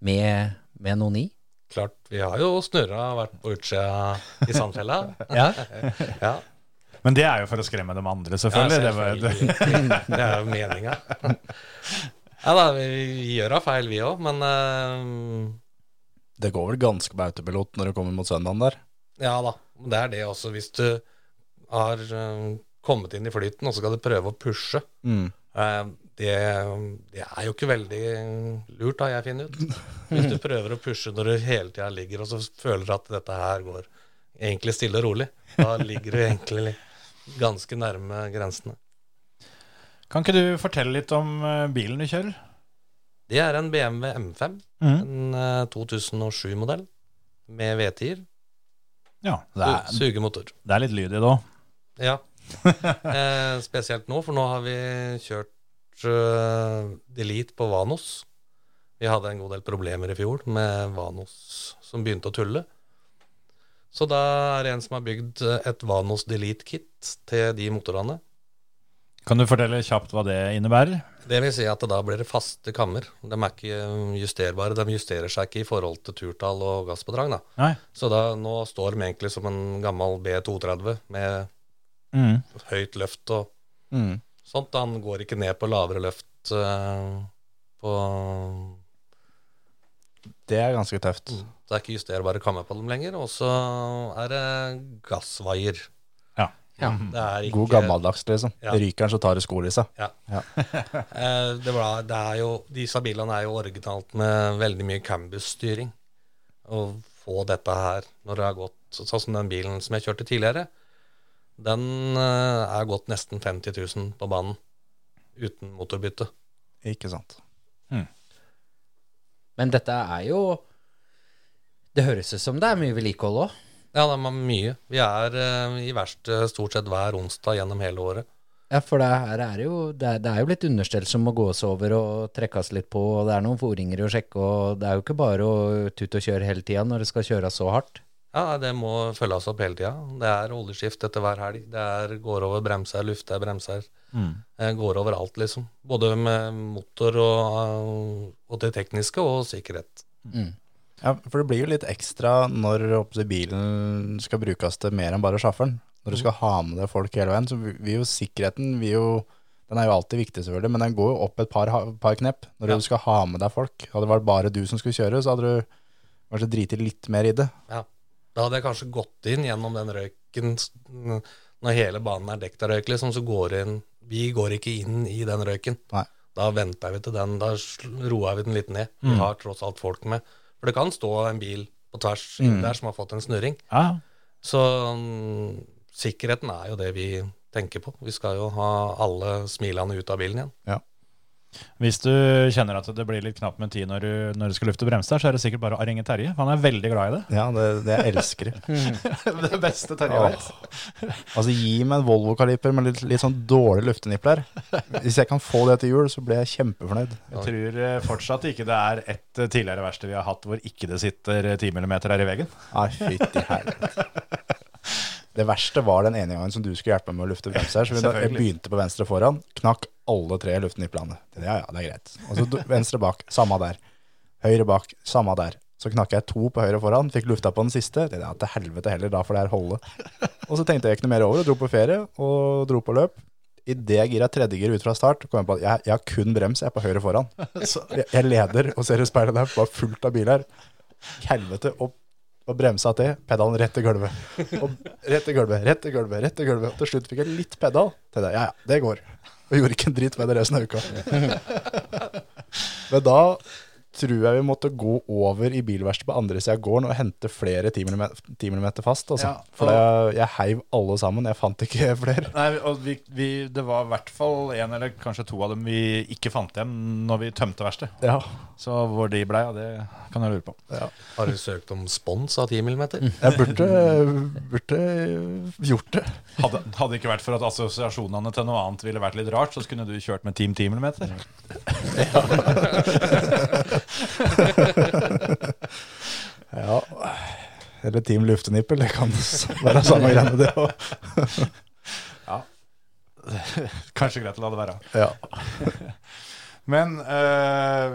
S5: Med, med noen i?
S6: klart, vi har jo snurra og vært på utsida i Sandfjella.
S5: Ja.
S6: Ja,
S3: Men det er jo for å skremme de andre,
S6: ja,
S3: selvfølgelig. Sånn det var, det,
S6: selvfølgelig. Det er jo meninga. Ja da, vi, vi gjør da feil, vi òg, men eh,
S4: Det går vel ganske på autopilot når du kommer mot søndagen der.
S6: Ja da, men det er det også. Hvis du har eh, kommet inn i flyten, og så skal du prøve å pushe.
S4: Mm.
S6: Eh, det, det er jo ikke veldig lurt, har jeg funnet ut. Hvis du prøver å pushe når du hele tida ligger og så føler at dette her går egentlig stille og rolig, da ligger du egentlig ganske nærme grensene.
S3: kan ikke du fortelle litt om eh, bilen du kjører?
S6: Det er en BMW M5, en eh, 2007-modell med V10-er,
S3: Ja, det er,
S6: sugemotor.
S3: det er litt lyd i det òg.
S6: Ja. Eh, spesielt nå, for nå har vi kjørt eh, delete på Vanos. Vi hadde en god del problemer i fjor med Vanos som begynte å tulle. Så da er det en som har bygd eh, et Vanos delete-kit til de motorene.
S3: Kan du fortelle kjapt hva det innebærer?
S6: Det vil si at da blir det faste kammer. De er ikke eh, justerbare. De justerer seg ikke i forhold til turtall og gasspådrag. Da.
S3: Nei.
S6: Så da, nå står de egentlig som en gammel B230 med
S3: Mm.
S6: høyt løft og
S4: Mm.
S6: sånt. Han går ikke ned på lavere løft eh, på
S4: Det er ganske tøft.
S6: Det er ikke justerbare kammer på dem lenger. Og så er det gassvaier.
S3: Ja.
S6: Ja. Det er ikke,
S4: God gammeldags, liksom.
S6: Ja.
S4: Ryker den, så tar du skolissa.
S6: Ja.
S4: Ja.
S6: Eh, det var, det er jo, disse bilene er jo originalt med veldig mye cambus-styring. Å få dette her når det har gått så- Sånn som den bilen som jeg kjørte tidligere, den eh, er gått nesten 50 000 på banen uten motorbytte.
S4: Ikke sant.
S5: Men dette er jo Det høres ut som det er mye vedlikehold òg.
S6: Ja, det er mye. Vi er eh, i verkstedet stort sett hver onsdag gjennom hele året.
S5: Ja, for det her er jo det er, det er jo litt understell som må gås over og trekkes litt på, og det er noen foringer å sjekke, og det er jo ikke bare å tute og kjøre hele tida når det skal kjøres så hardt.
S6: Ja, nei, Det må følges opp hele tida. Det er oljeskift etter hver helg. Det er går over bremser, lufter bremser. Eh, Går over alt, liksom. Både med motor og, eh, og det tekniske og sikkerhet.
S4: Ja, for det blir jo litt ekstra når opptil bilen skal brukes til mer enn bare sjåføren. Når du skal ha med deg folk hele veien, så vil vil jo sikkerheten vil jo, Den er jo alltid viktig, selvfølgelig, men den går jo opp et par, ha- par knep når
S6: Ja.
S4: du skal ha med deg folk. Hadde det vært bare du som skulle kjøre, så hadde du kanskje driti litt mer i det.
S6: Ja. Da hadde jeg kanskje gått inn gjennom den røyken s- n- når hele banen er dekket av røyk, liksom, så går det inn Vi går ikke inn i den røyken.
S4: Nei.
S6: Da venter vi til den. Da sl- roer vi den litt ned. Vi har tross alt folk med. For det kan stå en bil på tvers inn der som har fått en snurring.
S7: Ja.
S6: Så mm, sikkerheten er jo det vi tenker på. Vi skal jo ha alle smilene ut av bilen igjen.
S7: Hvis du kjenner at det blir litt knapt med tid når du, når du skal lufte og bremse, der, så er det sikkert bare å ringe Terje. for Han er veldig glad i det.
S4: Ja, det, det jeg elsker jeg.
S7: det beste Terje
S4: Åh.
S7: vet.
S4: Altså, gi meg en Volvo-kaliper med litt, litt sånn dårlig luftenipler. Hvis jeg kan få det til jul, så blir jeg kjempefornøyd.
S3: Jeg tror eh, fortsatt ikke det er et eh, tidligere verksted vi har hatt hvor ikke det sitter eh, 10 mm her i veggen.
S4: Nei, fytti helvete. Det verste var den ene gangen som du skulle hjelpe meg med å lufte bremser. Så vi- jeg
S3: Selvfølgelig.
S4: begynte på venstre foran, knakk alle tre lufteniplene. Ja, ja, det er greit. Og så do- venstre bak, samme der. Høyre bak, samme der. Så knakk jeg to på høyre foran, fikk lufta på den siste. Det er til helvete heller, da får det her holde. Og så tenkte jeg ikke noe mer over, og dro på ferie, og dro på løp. Idet jeg gira tredje gir ut fra start, kom jeg på at jeg, jeg har kun brems, jeg er på høyre foran. Så jeg, jeg leder, og ser i speilet der, bare fullt av biler. Helvete, og og bremsa til, pedalen rett til gulvet. Og rett til gulvet, rett til gulvet, rett til gulvet. Og til slutt fikk jeg litt pedal. Til det. Ja, ja, det går. Og gjorde ikke en drit med det resten av uka. Men da tror jeg vi måtte gå over i bilverkstedet på andre sida av gården og hente flere 10 mm, 10 millimeter fast. Altså.
S3: Ja, og-
S4: For jeg, jeg heiv alle sammen, jeg fant ikke flere.
S3: Nei, og vi, vi, Det var i hvert fall én eller kanskje to av dem vi ikke fant igjen når vi tømte verkstedet.
S4: Ja,
S3: Så hvor de blei, ja, det kan jeg lure på.
S6: Har du søkt om spons av 10 mm?
S4: jeg burde, burde gjort det.
S3: Hadde, hadde det ikke vært for at assosiasjonene til noe annet ville vært litt rart, så skulle du kjørt med Team 10 mm.
S4: Ja. Eller Team Luftenippel, det kan være samme greiene, det òg.
S3: Kanskje greit å la det være.
S4: Ja.
S3: Men eh,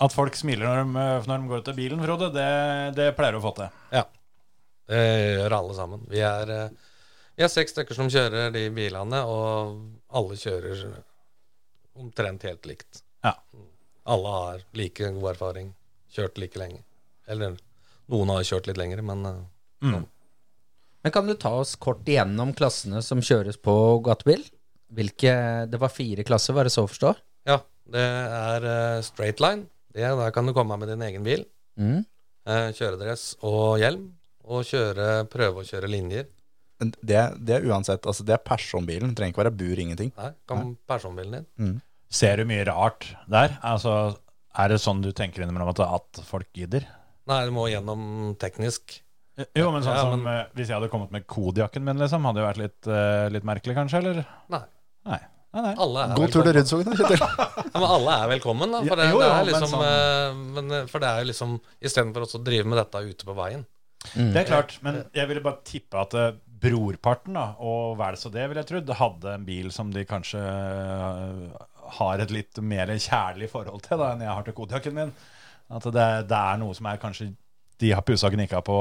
S3: at folk smiler når de, når de går ut av bilen, Frode, det, det pleier du å få til.
S6: Ja. Det gjør alle sammen. Vi er, eh, vi er seks stykker som kjører de bilene, og alle kjører omtrent helt likt.
S3: Ja.
S6: Alle har like god erfaring, kjørt like lenge. Eller noen har kjørt litt lenger, men eh,
S5: Men kan du ta oss kort igjennom klassene som kjøres på gatebil? Hvilke, det var fire klasser, var det så å forstå?
S6: Ja, det er eh, straight line. Det, der kan du komme med din egen bil.
S5: Mm.
S6: eh, kjøredress og hjelm. Og kjøre, prøve å kjøre linjer.
S4: Men Det, det er uansett, altså det er personbilen, det trenger ikke være bur, ingenting.
S6: Nei, kan personbilen din.
S3: Ser du mye rart der? Altså, er det sånn du tenker innimellom at, at folk gidder?
S6: Nei, du må gjennom teknisk.
S3: Jo, men sånn
S6: Ja,
S3: som eh, Hvis jeg hadde kommet med Kodiakken min, liksom, hadde det vært litt, eh, litt merkelig, kanskje? Eller?
S6: Nei.
S3: Nei. nei, nei.
S6: Alle er
S4: God tur til
S6: velkommen.
S4: Rudskogen da, Kjetil.
S6: Ja, men alle er velkommen, da.
S3: Ja,
S6: For det,
S3: jo,
S6: det
S3: ja,
S6: er
S3: men
S6: liksom
S3: sånn-
S6: eh, men, eh, For det er jo liksom Istedenfor også å drive med dette ute på veien.
S3: Det er klart, men jeg ville bare tippe at eh, brorparten, da, og vel så det, vil jeg trodd, hadde en bil som de kanskje eh, har et litt mer kjærlig forhold til da, enn jeg har til Kodiakken min. At det, det er noe som er kanskje de har pussa gnikka på,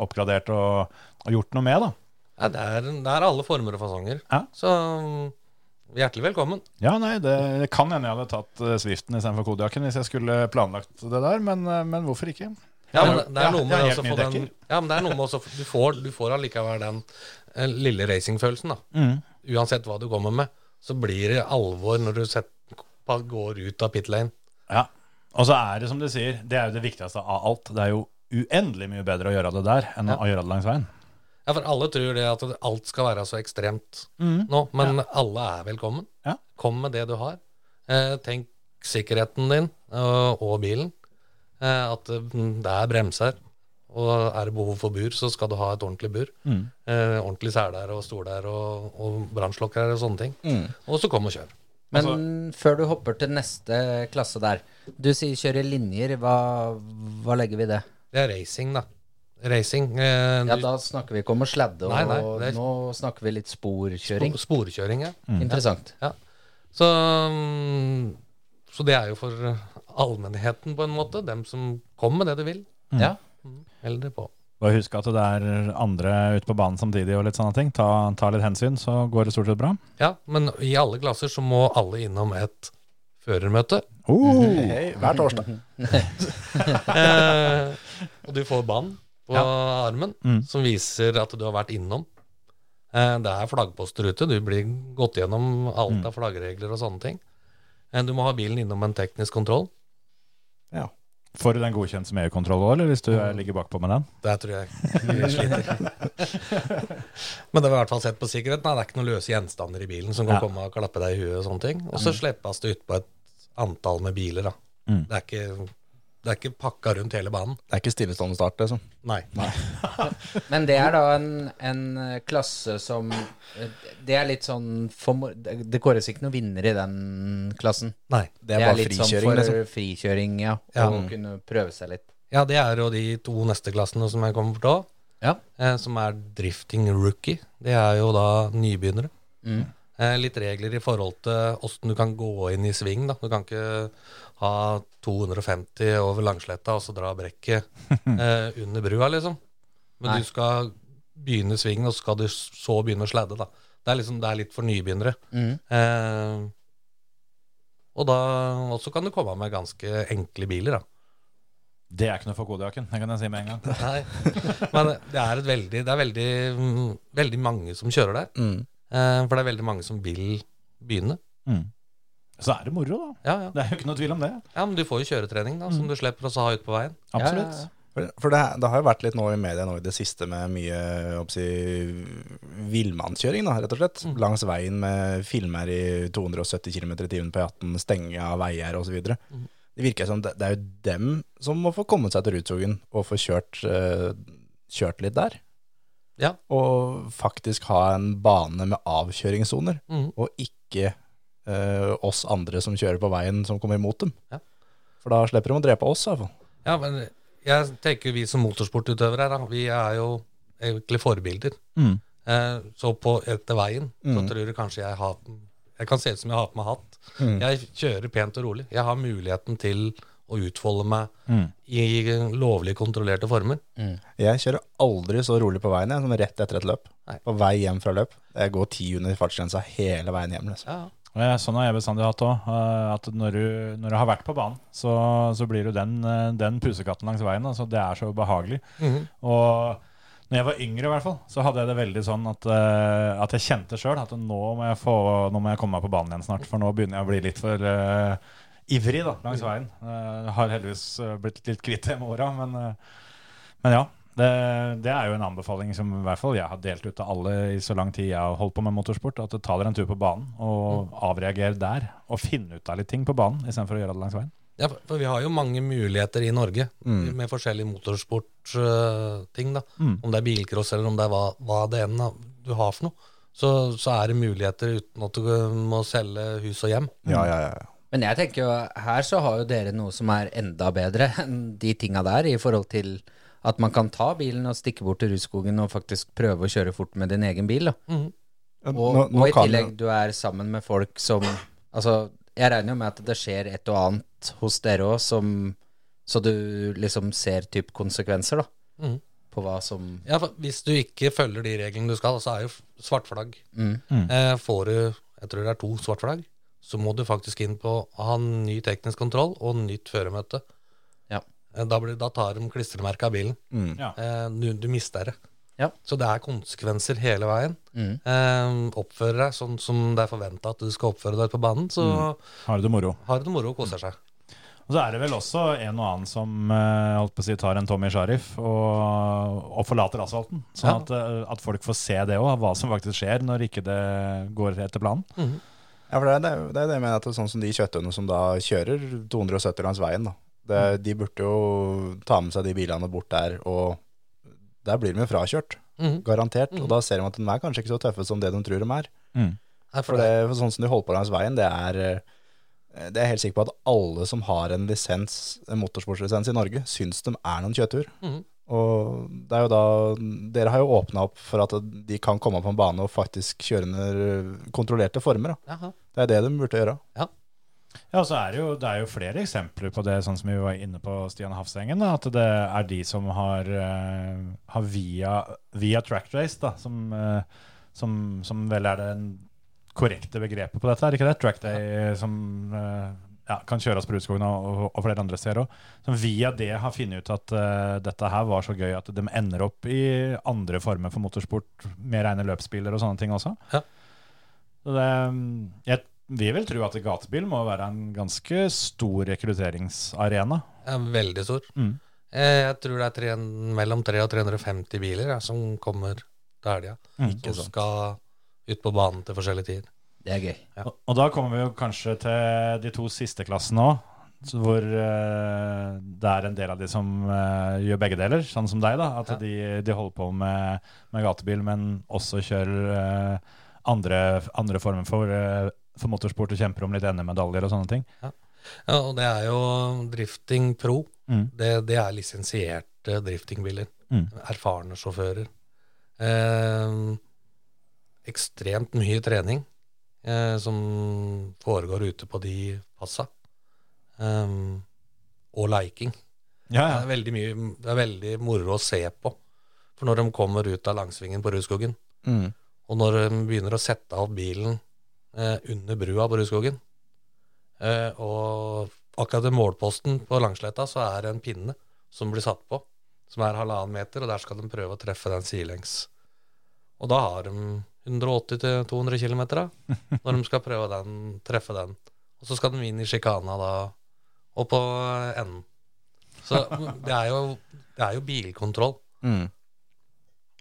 S3: oppgradert og, og gjort noe med, da.
S6: Ja, det, er, det er alle former og fasonger.
S3: Ja.
S6: Så mm, hjertelig velkommen.
S3: Ja, nei, det, det kan hende jeg hadde tatt eh, Swiften istedenfor Kodiakken hvis jeg skulle planlagt det der, men, eh, men hvorfor ikke?
S6: Ja, men det er
S3: Ja,
S6: noe med
S3: ja,
S6: det
S3: helt
S6: også
S3: nye
S6: få den
S3: dekker.
S6: Ja, men det er noe med også Du får, du får allikevel den eh, lille racingfølelsen, da.
S3: Mm.
S6: Uansett hva du kommer med, så blir det alvor når du set, pa- går ut av pit lane.
S3: Ja. Og så er det som du sier, det er jo det viktigste av alt. Det er jo uendelig mye bedre å gjøre det der enn å gjøre det langs veien.
S6: Ja, for alle tror det at alt skal være så ekstremt
S5: Mm.
S6: nå, men alle er velkommen.
S3: Ja.
S6: Kom med det du har. Eh, tenk sikkerheten din og, og bilen. Eh, at eh, det er bremser. Og er det behov for bur, så skal du ha et ordentlig bur.
S5: Mm.
S6: Eh, ordentlig seler og stoler og, og brannslokker og sånne ting.
S5: Mm.
S6: Og så kom og kjør.
S5: Men før du hopper til neste klasse der, du sier kjøre linjer, hva, hva legger vi i det?
S6: Det er racing, da. Racing. Eh,
S5: Ja, da snakker vi ikke om å sladde, og
S6: Nei, nei, det er-
S5: nå snakker vi litt sporkjøring.
S6: spo- Sporkjøring, ja.
S5: Interessant.
S6: Så, mm, så det er jo for allmennheten, på en måte. Dem som kommer med det du vil.
S5: Ja.
S6: Held det på.
S3: Og husk at det er andre ute på banen samtidig og litt sånne ting. Ta, ta litt hensyn, så går det stort sett bra.
S6: Ja, men i alle klasser så må alle innom et førermøte.
S3: Oh,
S4: Hei, hver torsdag.
S6: Eh, og du får bånd på armen som viser at du har vært innom. Eh, det er flaggposter ute. Du blir gått gjennom alt av flaggregler og sånne ting. Eh, du må ha bilen innom en teknisk kontroll.
S3: får du den godkjent som EU-kontroll òg, eller hvis du eh, ligger bakpå med den?
S6: Det tror jeg vi sliter. Men det var i hvert fall sett på sikkerhet. Nei, det er ikke noen løse gjenstander i bilen som kan
S3: Ja.
S6: komme og klappe deg i huet og sånne ting. Og så slippes det ut på et antall med biler, da.
S3: Mm.
S6: Det, er ikke, det er ikke pakka rundt hele banen.
S4: Det er ikke stillestående start, liksom.
S6: Nei.
S5: Men det er da en, en eh, klasse som eh, Det er litt sånn for, mor- Det det kåres ikke noen vinner i den klassen.
S6: Nei.
S4: Det er bare
S5: litt sånn
S4: frikjøring,
S5: for
S4: liksom.
S5: frikjøring, ja.
S6: Ja.
S5: Og kunne prøve seg litt.
S6: Ja, det er jo de to neste klassene som jeg kommer til å ta.
S5: Ja.
S6: Eh, som er drifting rookie. Det er jo da nybegynnere.
S5: Mm.
S6: Eh, litt regler i forhold til åssen du kan gå inn i sving. da. Du kan ikke ha 250 over langsletta og så dra brekket eh, under brua, liksom. Men
S5: Nei.
S6: du skal begynne svingen, og så skal du så begynne å sladde. da. Det er, liksom, det er litt for nybegynnere.
S5: Mm.
S6: Eh, og da og så kan du komme med ganske enkle biler, da.
S3: Det er ikke noe for kodejakken, det kan jeg si med en gang.
S6: Nei. Men det er, et veldig, det er veldig, mm, veldig mange som kjører der.
S4: Mm.
S6: Eh, for det er veldig mange som vil begynne.
S3: Mm. Så er det moro, da.
S6: Ja, ja.
S3: Det er jo ikke noe tvil om det.
S6: ja, men du får jo kjøretrening, da, som du slipper å ha ut på veien.
S3: Absolutt.
S4: For, for det, det har jo vært litt nå i media nå i det siste med mye oppsi, villmannskjøring, da, rett og slett.
S6: Mm.
S4: Langs veien med filmer i 270 km i timen på E18, stenging av veier osv.
S6: Mm.
S4: Det virker som det, det er jo dem som må få kommet seg til Rudskogen og få kjørt, eh, kjørt litt der.
S6: Ja.
S4: Og faktisk ha en bane med avkjøringssoner,
S6: Mhm.
S4: og ikke eh, oss andre som kjører på veien som kommer imot dem.
S6: Ja.
S4: For da slipper de å drepe oss, i hvert fall.
S6: Ja, men jeg tenker vi som motorsportutøvere, da, vi er jo egentlig forbilder.
S3: Mm.
S6: Eh, så på etter veien så
S4: Mm.
S6: tror du kanskje jeg har Jeg kan se ut som jeg har på meg hatt.
S4: Mm.
S6: Jeg kjører pent og rolig. Jeg har muligheten til å utfolde meg
S3: Mm.
S6: i lovlig kontrollerte former.
S4: Jeg kjører aldri så rolig på veien jeg, som rett etter et løp.
S6: Nei.
S4: På vei hjem fra løp. Jeg går ti under fartsgrensa hele veien hjem. Liksom.
S6: Ja,
S3: Eh, Sånn har jeg bestandig hatt òg. At når du, når du har vært på banen, så, så blir du den, eh, den pusekatten langs veien. Altså, det er så behagelig.
S6: Mhm.
S3: Og når jeg var yngre, i hvert fall, så hadde jeg det veldig sånn at, eh, at jeg kjente sjøl at nå må, jeg få, nå må jeg komme meg på banen igjen snart, for nå begynner jeg å bli litt for eh, ivrig da, langs veien. Eh, har heldigvis eh, blitt litt kvitt det med åra, men, eh, men ja. Det, det er jo en anbefaling som i hvert fall jeg har delt ut til alle i så lang tid jeg har holdt på med motorsport, at ta dere en tur på banen og avreager der. Og finne ut av litt ting på banen istedenfor å gjøre det langs veien.
S6: Ja, for- for vi har jo mange muligheter i Norge med forskjellige motorsportting. da. Om det er bilcross eller om det er hva, hva det enn er du har for noe, så, så er det muligheter uten at du øh, må selge hus og hjem.
S4: Ja, ja, ja.
S5: Men jeg tenker jo, her så har jo dere noe som er enda bedre enn de tinga der, i forhold til at man kan ta bilen og stikke bort til Rudskogen og faktisk prøve å kjøre fort med din egen bil. Da. Og,
S4: Nå, nå
S5: og i
S4: kan
S5: tillegg, du er sammen med folk som Altså, jeg regner jo med at det skjer et og annet hos dere òg, som Så du liksom ser typ konsekvenser, da.
S6: Mhm.
S5: På hva som
S6: Ja, for Hvis du ikke følger de reglene du skal, så er jo f- svart flagg.
S5: Mm.
S6: Eh, får du jeg tror det er to svart flagg, så må du faktisk inn på å ha ny teknisk kontroll og nytt føremøte.
S5: Ja.
S6: Eh, Da, blir, da tar de klistremerket av bilen.
S4: Mm.
S3: Ja.
S6: Eh, du, du mister det.
S5: Ja.
S6: Så det er konsekvenser hele veien.
S5: Mm.
S6: Eh, oppfører deg sånn som det er forventa at du skal oppføre deg på banen, så
S3: Har du det moro?
S6: har du det moro og koser seg.
S3: Og så er det vel også en og annen som eh, holdt på å si, tar en Tommy Sharif og, og forlater asfalten. Sånn
S6: Ja.
S3: at, eh, at folk får se det òg, hva som faktisk skjer når ikke det går etter planen.
S4: Ja, for det er det, er- det, er det jeg mener, at det er sånn som de kjøttøyene som da kjører 270 langs veien, da. Det, De burde jo ta med seg de bilene bort der, og der blir de jo frakjørt,
S6: Mhm.
S4: garantert. Og da ser de at de er kanskje ikke så tøffe som det de tror de er.
S6: Nei,
S4: For, det, for sånn som de holder på langs veien, det er eh, det er jeg helt sikker på at alle som har en lisens, en motorsportslisens i Norge, syns de er noen kjøttur.
S6: Mhm.
S4: Og det er jo da, dere har jo åpna opp for at de kan komme på en bane og faktisk kjøre under kontrollerte former. Da.
S6: Jaha.
S4: Det er det de burde gjøre.
S3: Ja, og så er det, jo, det er jo flere eksempler på det, sånn som vi var inne på Stian Hafsengen. Da, at det er de som har, eh, har via, via track race, da, som, eh, som, som vel er det korrekte begrepet på dette, er det ikke det? Track day eh, som eh, ja, kan kjøres på Rudskogen og, og, og flere andre steder òg. Som via det har funnet ut at eh, dette her var så gøy at de ender opp i andre former for motorsport, med rene løpsbiler og sånne ting også.
S6: Ja.
S3: Så det, mm, jeg vil vel tro at gatebil må være en ganske stor rekrutteringsarena.
S6: er veldig stor.
S3: Mm.
S6: Eh, Jeg tror det er tre, mellom 300 og 350 biler ja, som kommer til helga.
S3: Ikke
S6: Som skal ut på banen til forskjellige tider.
S5: Det er gøy.
S3: Og, og da kommer vi jo kanskje til de to siste klassene òg, hvor eh, det er en del av de som eh, gjør begge deler, sånn som deg. da, At
S6: Ja.
S3: de, de holder på med, med gatebil, men også kjører eh, andre, andre former for, eh, for motorsport og kjemper om litt NM-medaljer og sånne ting.
S6: Ja, og det er jo Drifting Pro.
S3: Mm.
S6: Det, det er lisensierte driftingbiler.
S3: Mm.
S6: Erfarne sjåfører. Eh, ekstremt mye trening eh, som foregår ute på de passa. Eh, og leiking.
S3: Ja,
S6: Det er veldig mye Det er veldig moro å se på. For når de kommer ut av langsvingen på Rudskogen,
S3: Mm.
S6: og når de begynner å sette av bilen eh, under brua på Rudskogen eh, Og akkurat ved målposten på Langsletta så er det en pinne som blir satt på, som er halvannen meter, og der skal de prøve å treffe den sidelengs. Og da har de 180-200 km når de skal prøve den, treffe den. Og så skal de inn i sjikana da, og på enden. Så det er jo, det er jo bilkontroll.
S4: Mm.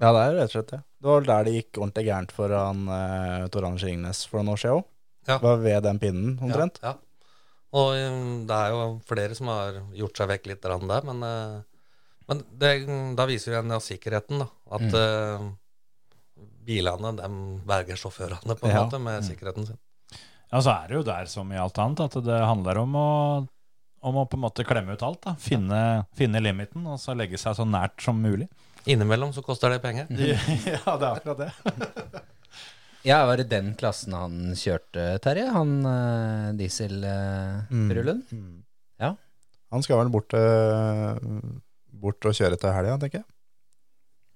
S4: Ja, det er rett og slett det. Det var vel der det gikk ordentlig gærent for han eh, Tor Anders Ringnes for noen år siden òg.
S6: Ja.
S4: Var ved den pinnen, omtrent.
S6: Ja, ja. Og um, det er jo flere som har gjort seg vekk litt grann der, men, eh, men det, da viser jo igjen ja, sikkerheten, da. At
S4: Mm.
S6: eh, bilene, dem berger sjåførene, på en
S4: Ja.
S6: måte, med sikkerheten sin.
S3: Ja, så er det jo der som i alt annet at det handler om å, om å på en måte klemme ut alt. da, Finne, finne limiten og så legge seg så nært som mulig.
S6: Innimellom så koster det penger.
S4: Mm.
S3: ja, det er akkurat det.
S5: Ja, var det den klassen han kjørte, Terje? Han uh, dieselrullen?
S4: Mm. Han skal vel bort, eh, bort og kjøre til helga, tenker jeg.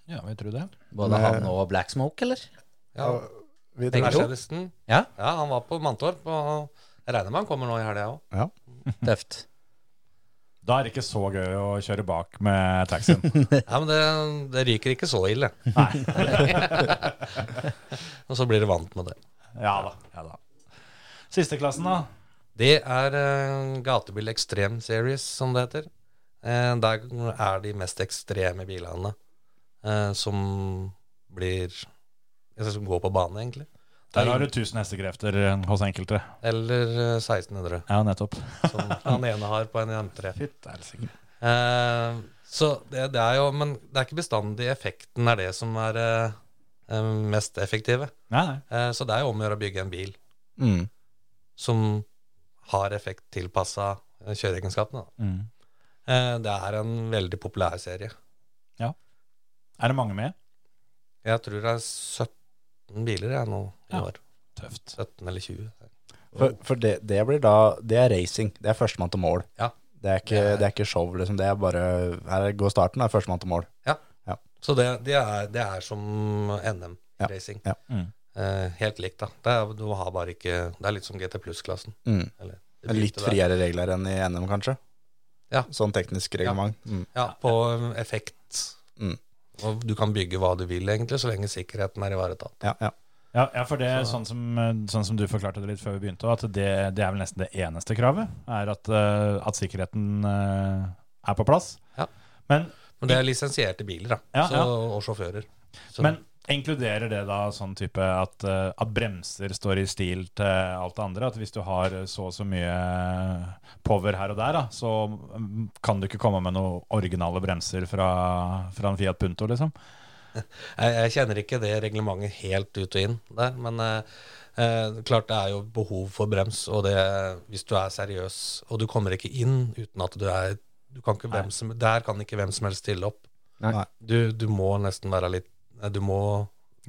S3: Ja, vi tror det.
S5: Både
S4: Nei.
S5: han og Black Smoke, eller?
S6: Ja,
S4: Vi tror det.
S6: Mercedesen.
S5: Ja.
S6: ja, han var på Mantorp, og jeg regner med han kommer nå i helga òg.
S5: Tøft.
S3: Da er det ikke så gøy å kjøre bak med taxien.
S6: Ja, men det, det ryker ikke så ille. og så blir du vant med det.
S3: ja da. ja da. Siste klassen, da.
S6: Det er eh, Gatebil Extreme Series, som det heter. Eh, der er de mest ekstreme bilene eh, som blir altså, Som går på bane, egentlig. Det er
S3: Der har du
S6: ingen-
S3: 1000 hestekrefter eh, hos enkelte.
S6: Eller eh, 1600,
S3: Ja, nettopp.
S6: som han ene har på en M3.
S3: Fytt, er det sikkert.
S6: Eh, så det, det er jo Men det er ikke bestandig effekten er det som er eh, eh, mest effektive.
S3: Nei, nei.
S6: Eh, så det er jo om å gjøre å bygge en bil
S4: Mm.
S6: som har effekt tilpassa kjøreegenskapene. da.
S3: Mm.
S6: Eh, Det er en veldig populær serie.
S3: Er det mange med?
S6: Jeg tror det er 17 biler jeg nå i
S3: Ja.
S6: år.
S3: Tøft.
S6: 17 eller 20.
S4: For, for det, det blir da Det er racing. Det er førstemann til mål.
S6: Ja.
S4: Det, er ikke,
S6: Det er-
S4: det er ikke show, liksom. Det er bare Her går starten, er førstemann til mål.
S6: Så det, det, er, det er som NM-racing.
S4: Ja.
S3: Mm.
S6: Eh, helt likt, da. Det er, du har bare ikke, det er litt som GT pluss-klassen.
S4: Mm.
S6: eller- det
S4: Litt
S6: begynte der.
S4: friere regler enn i NM, kanskje.
S6: Ja.
S4: Sånn teknisk reglement. Mm.
S6: Ja, på um, effekt.
S4: Mm.
S6: Og du kan bygge hva du vil, egentlig, så lenge sikkerheten er ivaretatt.
S4: Ja, ja.
S3: Ja, ja, for det er sånn som, sånn som du forklarte det litt før vi begynte, at det, det er vel nesten det eneste kravet, er at, eh, at sikkerheten eh, er på plass.
S6: Ja.
S3: Men,
S6: Men det er lisensierte biler, da.
S3: Ja,
S6: så,
S3: ja.
S6: og sjåfører. Så,
S3: men inkluderer det da sånn type at, eh, at bremser står i stil til alt det andre? At hvis du har så og så mye power her og der, da, så mm, kan du ikke komme med noen originale bremser fra, fra en Fiat Punto, liksom?
S6: jeg, jeg kjenner ikke det reglementet helt ut og inn der, men eh, eh, klart det er jo behov for brems, og det, hvis du er seriøs, og du kommer ikke inn uten at du er du kan ikke hvem som, Der kan ikke hvem som helst stille opp.
S4: Nei.
S6: Du, du må nesten være litt eh, Du må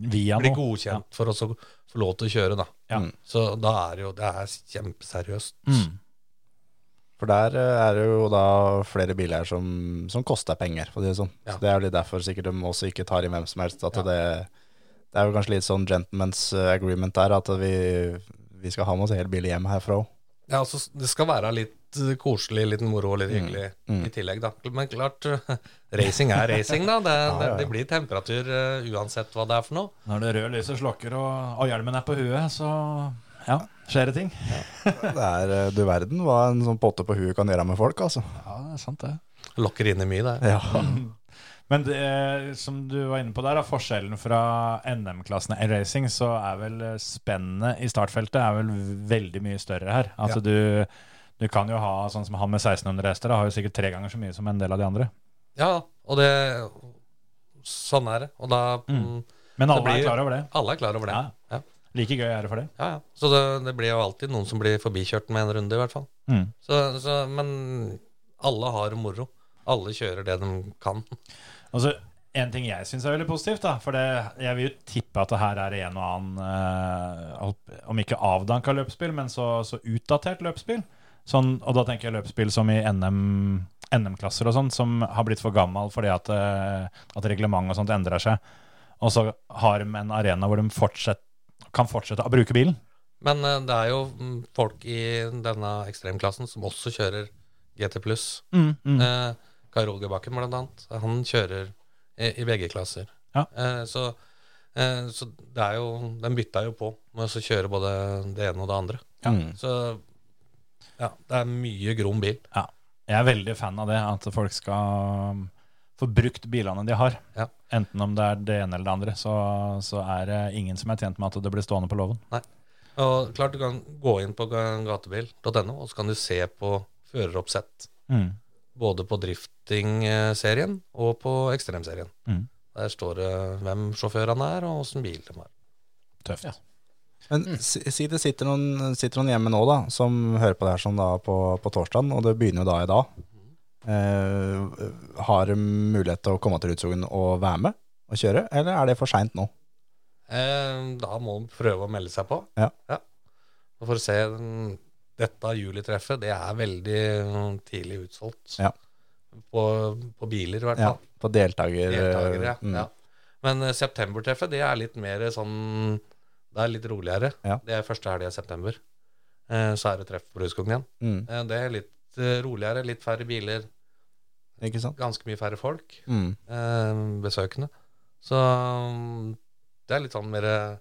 S3: Via
S6: bli
S3: noe.
S6: godkjent for å så få lov til å kjøre, da.
S3: Ja.
S6: Så da er det jo Det er kjempeseriøst.
S3: Mm.
S4: For der eh, er det jo da flere biler som, som koster penger, for å si det sånn.
S6: Ja.
S4: Så det er jo litt derfor sikkert de også ikke tar inn hvem som helst. At det, det er jo kanskje litt sånn gentleman's eh, agreement der, at vi, vi skal ha med oss hele bilen hjem herfra òg.
S6: Ja, altså, det skal være litt eh, koselig, litt moro og litt hyggelig
S4: Mm.
S6: i tillegg, da. Men klart, racing er racing, da. Det,
S4: ja, ja.
S6: det blir temperatur eh, uansett hva det er for noe.
S3: Når det røde lyset slokker og, og hjelmen er på huet, så ja, skjer det ting.
S4: Det er eh, du verden hva en sånn potte på huet kan gjøre med folk, altså.
S3: Ja, det er sant det.
S6: Lokker inn i mye, det.
S4: Ja.
S3: Men det, eh, som du var inne på der, da, forskjellen fra NM-klassene i racing, så er vel eh, spennet i startfeltet er vel veldig mye større her. Altså du, du kan jo ha sånn som han med 1600 hester, da, har jo sikkert tre ganger så mye som en del av de andre.
S6: Ja, og det Sånn er det. Og da
S3: Mm.
S6: mm,
S3: Men alle
S6: blir-
S3: er klar over det.
S6: Alle er klar over det.
S3: Ja.
S6: Ja.
S3: Like gøy er det for det.
S6: Ja, ja. Så det, det blir jo alltid noen som blir forbikjørt med en runde, i hvert fall.
S3: Mm.
S6: Så, så, men alle har moro. Alle kjører det de kan.
S3: Altså, en ting jeg syns er veldig positivt, da, for det, jeg vil jo tippe at det her er en og annen eh, holdt- Om ikke avdanka løpsspill, men så, så utdatert løpsspill. Sånn, og da tenker jeg løpsspill som i NM, NM-klasser og sånn, som har blitt for gammel fordi at, eh, at reglement og sånt endrer seg. Og så har de en arena hvor de fortsett, kan fortsette å bruke bilen.
S6: Men eh, det er jo mm, folk i denne ekstremklassen som også kjører GT pluss.
S3: Mm.
S6: Eh, Kai Rogebakken, blant annet. Han kjører i, i begge klasser.
S3: Ja.
S6: Eh, så, eh, så det er jo Den bytta jo på med å så kjøre både det ene og det andre.
S4: Mm.
S6: Så ja, det er mye grom bil.
S3: Ja. Jeg er veldig fan av det, at folk skal um, få brukt bilene de har.
S6: Ja.
S3: Enten om det er det ene eller det andre, så, så er det ingen som er tjent med at det blir stående på låven.
S6: Og klart du kan gå inn på ga- gatebil.no, og så kan du se på føreroppsett.
S3: Mm.
S6: Både på drifting-serien og på ekstremserien.
S3: Mm.
S6: Der står det hvem sjåførene er, og åssen bil de har.
S3: Tøft.
S4: Men si, si det sitter noen, sitter noen hjemme nå da, som hører på det her sånn da på, på torsdagen, og det begynner jo da i dag. Eh, har de mulighet til å komme til Rudskogen og være med og kjøre, eller er det for seint nå?
S6: Eh, da må man prøve å melde seg på.
S4: Ja.
S6: Og For å se mm, dette julitreffet, det er veldig mm, tidlig utsolgt.
S4: Ja.
S6: På, på biler, i hvert
S4: Ja,
S6: fall.
S4: på deltaker...
S6: Deltakere.
S4: Mm.
S6: Ja. Men eh, septembertreffet, det er litt mer sånn Det er litt roligere.
S4: Ja.
S6: Det er første helga i september. Eh, så er det treff på Rudskogen igjen.
S4: Mm.
S6: Eh, det er litt eh, roligere, litt færre biler,
S4: Ikke sant?
S6: ganske mye færre folk.
S4: Mm.
S6: eh, besøkende. Så mm, det er litt sånn mer eh,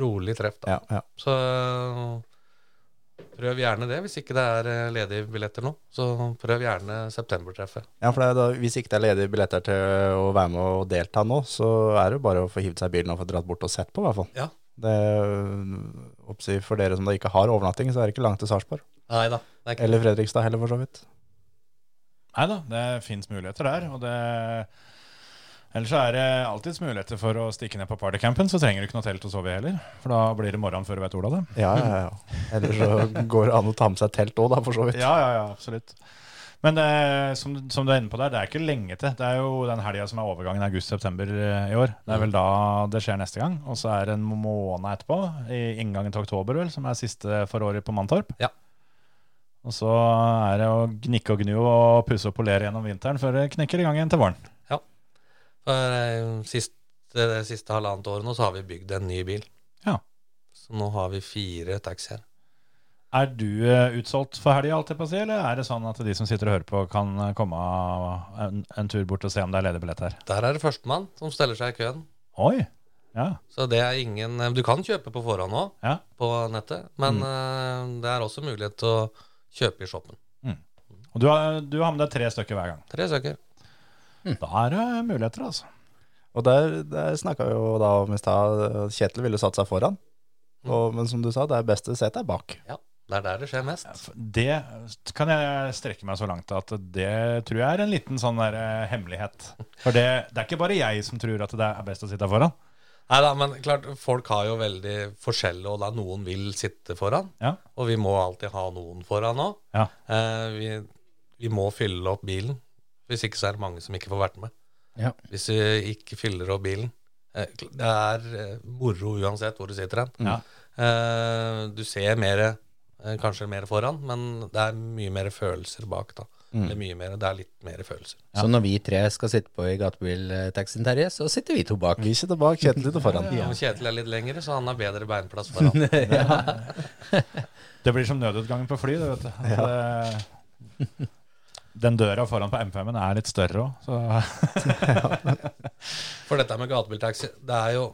S6: rolig treff, da.
S4: Ja, ja.
S6: Så eh, prøv gjerne det, hvis ikke det er eh, ledige billetter nå. Så prøv gjerne septembertreffet.
S4: ja, for det er da, hvis ikke det er ledige billetter til å være med og delta nå, så er det jo bare å få hivd seg i bilen og få dratt bort og sett på, i hvert fall.
S6: Ja.
S4: Det, øh, oppsi, for dere som da ikke har overnatting, så er det ikke langt til Sarpsborg.
S6: Nei da. Det er ikke
S4: Eller Fredrikstad heller, for så vidt.
S3: Nei da, det fins muligheter der. Og det, ellers så er det alltids muligheter for å stikke ned på partycampen, så trenger du ikke noe telt å sove i heller. For da blir det morgen før du vet ordet av det.
S4: Ja, ja, ja. Eller så går det an å ta med seg telt òg, da, for så vidt.
S3: Ja, ja, ja, absolutt. Men eh, som, som du er inne på der, det er ikke lenge til. Det er jo den helga som er overgangen august-september eh, i år. Det er vel da det skjer neste gang. Og så er det en måned etterpå, i inngangen til oktober, vel, som er siste for året på Mantorp.
S6: Ja.
S3: Og så er det å gnikke og gnu og pusse og polere gjennom vinteren før det knekker i gang igjen til våren.
S6: For eh, sist, det siste halvannet året nå så har vi bygd en ny bil.
S3: Ja.
S6: Så nå har vi fire taxier.
S7: Er du eh, utsolgt for helga, alt jeg på å si, eller er det sånn at de som sitter og hører på, kan eh, komme en, en tur bort og se om det er ledig billett her?
S6: Der er det førstemann som steller seg i køen.
S7: Oi! Ja.
S6: Så det er ingen eh, Du kan kjøpe på forhånd òg,
S7: Ja. Mm.
S6: på nettet, men eh, det er også mulighet til å kjøpe i shoppen.
S7: Og du har, du har med deg tre stykker hver gang.
S6: Tre søker.
S7: Da er det muligheter, altså.
S4: Og der, der snakka vi jo da om i stad, at Kjetil ville satt seg foran. Og, men som du sa, det er beste setet er bak.
S6: Ja, det er der det skjer mest.
S7: Det kan jeg strekke meg så langt at det tror jeg er en liten sånn der eh, hemmelighet. For det, det er ikke bare jeg som tror at det er best å sitte foran.
S6: Nei da, men klart, folk har jo veldig forskjellig, og da noen vil sitte foran.
S7: Ja.
S6: Og vi må alltid ha noen foran òg.
S7: Ja.
S6: Eh, vi, vi må fylle opp bilen. Hvis ikke så er det mange som ikke får vært med.
S5: Ja.
S6: Hvis vi ikke fyller opp bilen. eh, kl- Det er eh, moro uansett hvor du sitter hen.
S7: Ja.
S6: Eh, Du ser mer, eh, kanskje mer foran, men det er mye mer følelser bak da. Det, er mye mer, det er litt mer følelser.
S5: Så når vi tre skal sitte på i gatebiltaxien, Terje, så sitter vi to bak.
S4: Vi sitter bak, Kjetil sitter foran.
S6: Om Kjetil er litt lengre, så han har bedre beinplass foran.
S7: Det blir som nødutgangen på fly, det vet du. At, eh, Den døra foran på M5-en er litt større òg, så
S6: For dette med gatebiltaxi, det er jo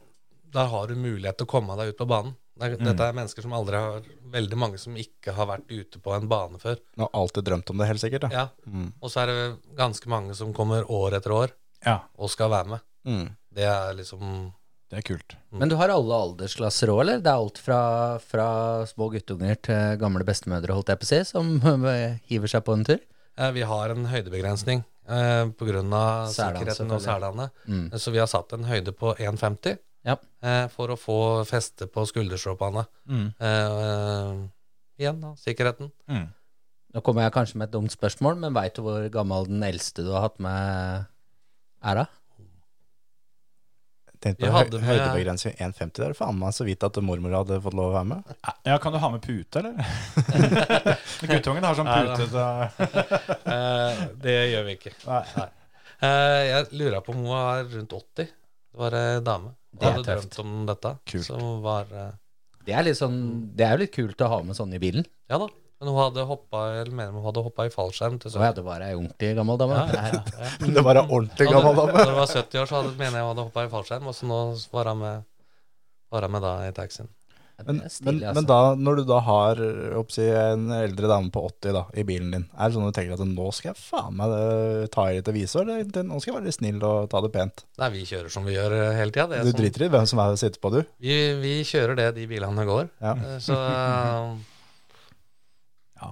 S6: Der har du mulighet til å komme deg ut på banen. Det er, Dette er mennesker som aldri har Veldig mange som ikke har vært ute på en bane før.
S4: Nå har alltid drømt om det, helt sikkert. Da. Mm.
S6: Ja. Og så er det ganske mange som kommer år etter år
S7: ja,
S6: og skal være med.
S4: Mm.
S6: Det er liksom
S7: det er kult.
S5: Men du har alle aldersklasser òg, eller? Det er alt fra, fra små guttunger til gamle bestemødre, holdt jeg på å si, som eh, hiver seg på en tur?
S6: eh, Vi har en høydebegrensning eh, pga.
S5: Særland,
S6: sikkerheten og særlandet.
S5: Mm.
S6: Så vi har satt en høyde på 1,50
S5: Ja.
S6: eh, for å få feste på skulderstråpene.
S7: Mm.
S6: Eh, igjen, da. Sikkerheten.
S7: Mm.
S5: Nå kommer jeg kanskje med et dumt spørsmål, men veit du hvor gammel den eldste du har hatt med, er da?
S4: Tenkte
S6: Vi
S4: på
S6: hadde
S4: høy-
S6: med-
S4: høydebegrensning 1,50 der. Faen meg så vidt at mormor hadde fått lov å være med.
S7: Ja, Kan du ha med pute, eller? Guttungen har sånn
S6: Nei,
S7: pute. Så...
S6: Eh, det gjør vi ikke.
S7: Nei.
S6: Eh, jeg lurer på om hun var rundt 80. Det var ei dame. Hun
S5: Det er
S6: hadde
S5: tøft.
S6: drømt om dette.
S7: Kult.
S6: Så hun var eh,
S5: Det er, litt sånn, det er jo litt kult å ha med sånne i bilen.
S6: Ja da. Men hun hadde hoppa Eller mener hun hadde hoppa i fallskjerm til
S5: Så jeg hadde bare ei ordentlig gammel dame. Ja, ja.
S4: Det var ei ordentlig
S6: Hadde-
S4: gammel dame.
S6: Når hun var 70 år, så hadde, mener jeg hun hadde hoppa i fallskjerm, og så nå var hun med, var hun med da i taxien.
S5: Det er
S4: Men, men,
S5: stilig,
S4: men
S5: altså.
S4: da, når du da har jeg håper å si, en eldre dame på 80 da, i bilen din, er det sånn at du tenker at nå skal jeg faen meg eh, ta i litt aviser? eller? Det- Nå skal jeg være litt snill og ta det pent.
S6: Nei, vi kjører som vi gjør eh, hele tida. det er
S4: Du
S6: sånn-
S4: driter i hvem som er sitter på, du.
S6: Vi, vi kjører det de bilene går.
S4: Ja.
S6: Eh, Så eh,
S7: Ja.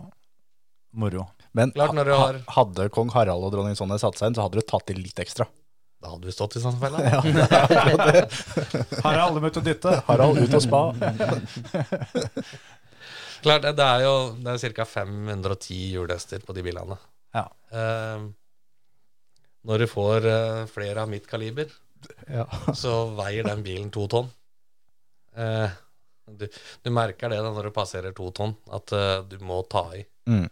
S7: Moro.
S4: Men
S6: Klart når du
S4: ha-
S6: har-
S4: hadde kong Harald og dronning Sonja satt seg inn, så hadde du tatt i litt ekstra.
S6: da hadde vi stått i sånn felle.
S7: Her er alle møtt å dytte.
S4: Harald ut og spa.
S6: Klart, det er jo det er ca. 510 hjulhester på de bilene.
S7: Ja.
S6: Eh, når du får eh, flere av mitt kaliber,
S4: Ja.
S6: så veier den bilen to tonn. Eh, du, du merker det da når du passerer to tonn, at eh, du må ta i.
S4: Mm.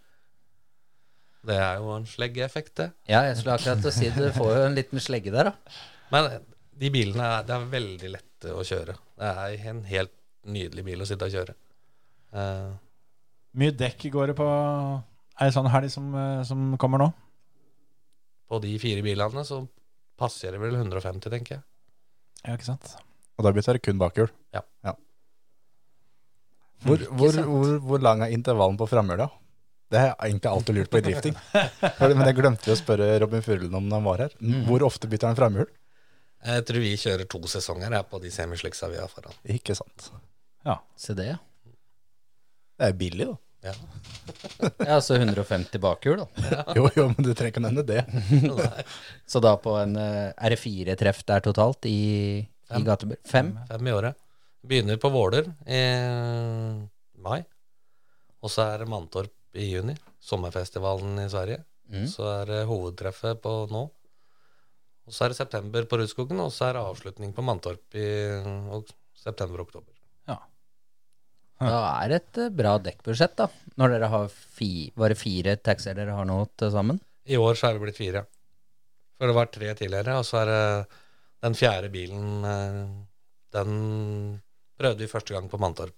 S6: Det er jo en sleggeeffekt, det.
S5: Ja, jeg skulle akkurat til å si det. Du får jo en liten slegge der, da.
S6: Men eh, de bilene er, det er veldig lette å kjøre. Det er en helt nydelig bil å sitte og kjøre. Eh,
S7: Mye dekk går det på ei sånn helg som, eh, som kommer nå.
S6: på de fire bilene så passerer vel 150, tenker jeg.
S7: Ja, ikke sant?
S4: Og da bytter det kun bakhjul.
S6: Ja.
S4: Hvor, hvor, hvor, hvor lang er intervallen på framhjula? Det har jeg egentlig alltid lurt på i drifting. For- Men jeg glemte jo å spørre Robin Furlund om han var her.
S6: Mm.
S4: Hvor ofte bytter han framhjul?
S6: Jeg tror vi kjører to sesonger her på de semisliksa vi har foran.
S4: Ikke sant.
S5: Se det, ja.
S4: Det er billig, da.
S6: Ja.
S5: Ja, altså 150 bakhjul, da.
S4: Jo, jo, men du trenger ikke å nevne det.
S6: Nei,
S5: Så da på en eh, R4-treff der totalt i, i
S6: Fem.
S5: gatebil. Fem?
S6: Fem i året. Begynner på Våler i mai, og så er det Mantorp i juni. Sommerfestivalen i Sverige.
S5: Mm.
S6: Så er det hovedtreffet på nå. Og så er det september på Rudskogen, og så er det avslutning på Mantorp i september-oktober.
S5: Da er det et eh, bra dekkbudsjett, da. Når dere har fi, Var det fire taxier dere har nå til sammen?
S6: I år så er det blitt fire. For det var tre tidligere, og så er det den fjerde bilen eh, Den prøvde vi første gang på Mantorp.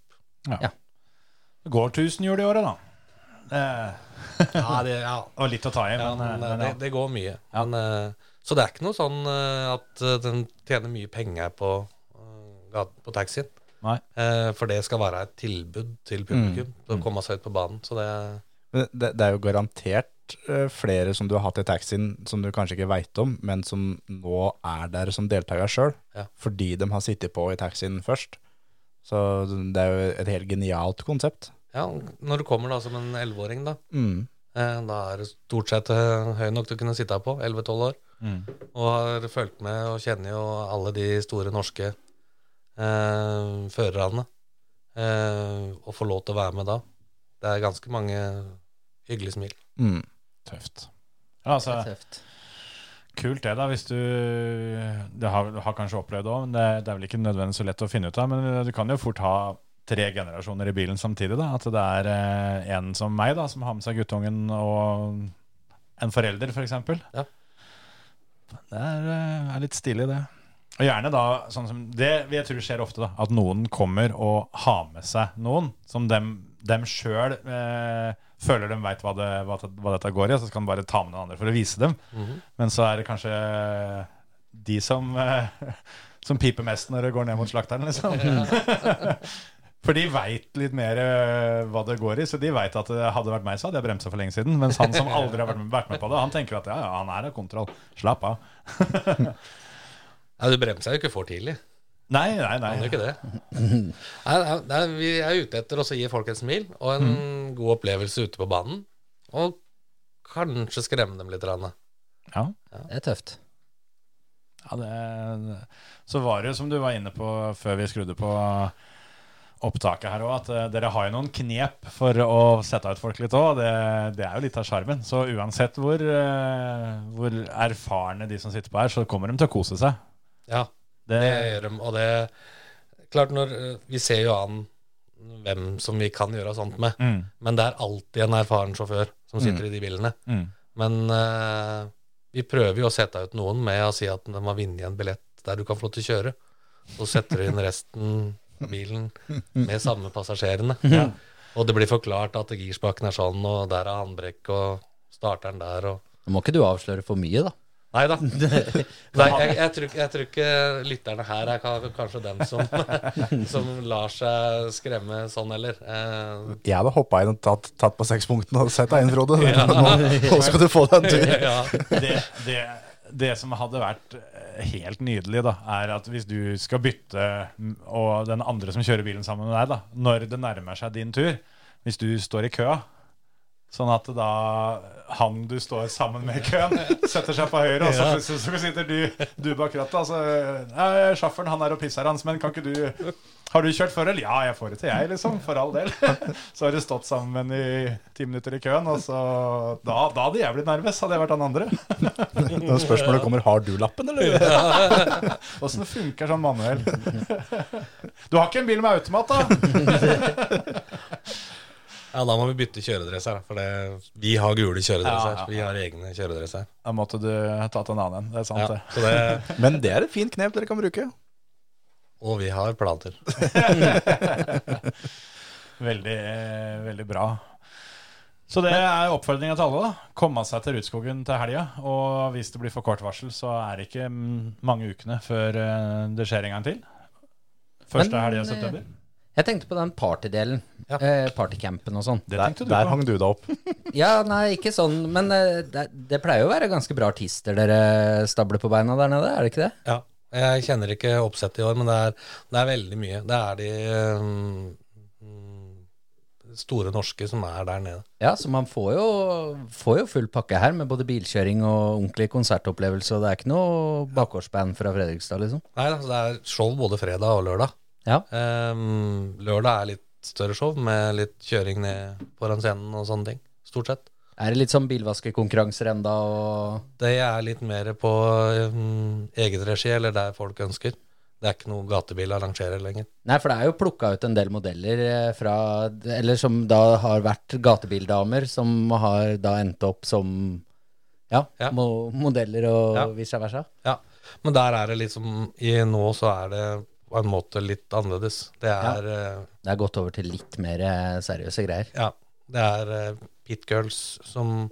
S3: Det går 1000 hjul i året, da. Det,
S6: Ja, det, ja.
S3: og litt å ta i, men,
S6: Ja,
S3: eh,
S6: men, eh,
S3: men,
S6: det,
S3: ja.
S6: det går mye. Men, eh, så det er ikke noe sånn eh, at eh, den tjener mye penger på, eh, gat- på taxien.
S3: Nei. Mm.
S6: Eh, for det skal være et tilbud til publikum til å komme seg ut på banen. Så det
S4: Men Det, det er jo garantert eh, flere som du har hatt i taxien som du kanskje ikke veit om, men som nå er der som deltaker sjøl,
S6: Ja.
S4: fordi de har sittet på i taxien først. Så det er jo et helt genialt konsept.
S6: ja, når du kommer da som en elleveåring, da,
S4: Mm.
S6: eh, da er du stort sett eh, høy nok til å kunne sitte her på, 11-12 år, og har fulgt med og kjenner jo alle de store norske eh, førerne, eh, og får lov til å være med da. Det er ganske mange hyggelige smil.
S4: Mm.
S3: Tøft. Ja, altså,
S5: Tøft.
S3: Kult det, da, hvis du Det har, har kanskje opplevd òg, men det, det er vel ikke nødvendigvis så lett å finne ut av. Men eh, du kan jo fort ha tre generasjoner i bilen samtidig. da, At det er eh, en som meg, da, som har med seg guttungen, og en forelder, f.eks. For eksempel.
S6: Ja.
S3: Det er, eh, er litt stilig, det. Og gjerne da, sånn som Det jeg tror skjer ofte, da, at noen kommer og har med seg noen som dem, dem sjøl eh, føler de veit hva, det, hva, det- hva dette går i, og så skal de bare ta med noen andre for å vise dem. Men så er det kanskje de som, eh, som piper mest når det går ned mot slakteren, liksom. For de veit litt mer eh, hva det går i, så de veit at det hadde vært meg, så hadde jeg bremsa for lenge siden. Mens han som aldri har vært med, vært med på det, han tenker at ja, ja, han er av kontroll. Slapp av.
S6: Ja, du bremser jo ikke for tidlig.
S3: Nei, nei,
S6: Kan du
S3: nei.
S6: ikke det? Nei, nei, nei, vi er ute etter å gi folk et smil og en god opplevelse ute på banen. Og kanskje skremme dem litt. Rane.
S3: Ja.
S5: Det er tøft.
S3: Ja, det, så var det jo som du var inne på før vi skrudde på opptaket her òg, at eh, dere har jo noen knep for å sette ut folk litt òg. Det, det er jo litt av sjarmen. Så uansett hvor, eh, hvor erfarne de som sitter på her, så kommer de til å kose seg.
S6: Ja,
S3: Det,
S6: det gjør de. Og det Klart, når eh, vi ser jo an hvem som vi kan gjøre sånt med,
S3: mm,
S6: men det er alltid en erfaren sjåfør som sitter i de bilene.
S3: mm,
S6: Men eh, vi prøver jo å sette ut noen med å si at de har vunnet en billett der du kan få lov til å kjøre. Så setter du inn resten av bilen med samme passasjerene. Og det blir forklart at girspaken er sånn, og der er håndbrekk, og starteren der, og
S5: Nå må ikke du avsløre for mye, da.
S6: Nei da. Nei, jeg, jeg, tror, ikke- jeg tror ikke lytterne her er ka- kanskje dem som, som lar seg skremme sånn heller. Eh,
S4: Jeg hadde hoppa inn og tatt, tatt på seks punktene og sett deg inn, Frode. Nå, nå skal du få deg en tur.
S6: ja.
S3: det, det, det som hadde vært eh, helt nydelig, da, er at hvis du skal bytte, mm, og den andre som kjører bilen sammen med deg, da, når det nærmer seg din tur, hvis du står i køa Sånn at da han du står sammen med i køen, setter seg på høyre, og så, så, så sitter du, du bak rattet. Altså, «Nei, sjåføren han er og pisser hans, men kan ikke du Har du kjørt før, eller? Ja, jeg får det til, jeg, liksom. For all del. Så har du stått sammen i ti minutter i køen, og så Da, da hadde jeg blitt nervøs, hadde jeg vært han andre.
S4: Når spørsmålet kommer har du lappen, eller?
S3: Åssen funker sånn manuell? Du har ikke en bil med automat, da?
S6: ja, da må vi bytte kjøredress her, da, for det, vi har gule kjøredress
S3: Ja, ja,
S6: her. Vi har egne kjøredress her.
S3: Da måtte du tatt en annen en. Det er sant,
S6: Ja,
S3: det.
S6: så det
S4: Men det er et fint knep dere kan bruke.
S6: Og vi har planer.
S3: Veldig, eh, veldig bra. Så det er oppfordringa til alle. da Komme seg til Rudskogen til helga. Og hvis det blir for kort varsel, så er det ikke mm, mange ukene før eh, det skjer en gang til. Første
S5: Men,
S3: helga i
S5: eh,
S3: september.
S5: Jeg tenkte på den partydelen.
S6: Ja.
S5: Eh, partycampen og sånn.
S3: Det
S4: Der,
S3: tenkte du
S4: der
S3: på.
S4: hang du deg opp.
S5: Ja, nei, ikke sånn, men eh, det, det pleier jo å være ganske bra artister dere stabler på beina der nede, er det ikke det?
S6: Ja. Jeg kjenner ikke oppsettet i år, men det er, det er veldig mye. Det er de øhm, store norske som er der nede.
S5: Ja, så man får jo, får jo full pakke her med både bilkjøring og ordentlig konsertopplevelse, og det er ikke noe bakgårdsband fra Fredrikstad, liksom.
S6: Nei, altså, det er skjold både fredag og lørdag.
S5: Ja.
S6: Ehm, lørdag er litt større show med litt kjøring ned foran scenen og sånne ting. Stort sett.
S5: Er det litt sånn bilvaskekonkurranser enda, og
S6: Det er litt mer på øhm, eget regi, eller der folk ønsker. Det er ikke noe gatebil arrangerer lenger.
S5: Nei, for det er jo plukka ut en del modeller eh, fra Eller som da har vært gatebildamer, som har da endt opp som ja,
S6: Ja.
S5: Mo modeller og
S6: Ja.
S5: vice versa.
S6: Ja, men der er det liksom i Nå så er det på en måte litt annerledes. Det er eh,
S5: Det er gått over til litt mer eh, seriøse greier.
S6: Ja. Det er eh, pitgirls som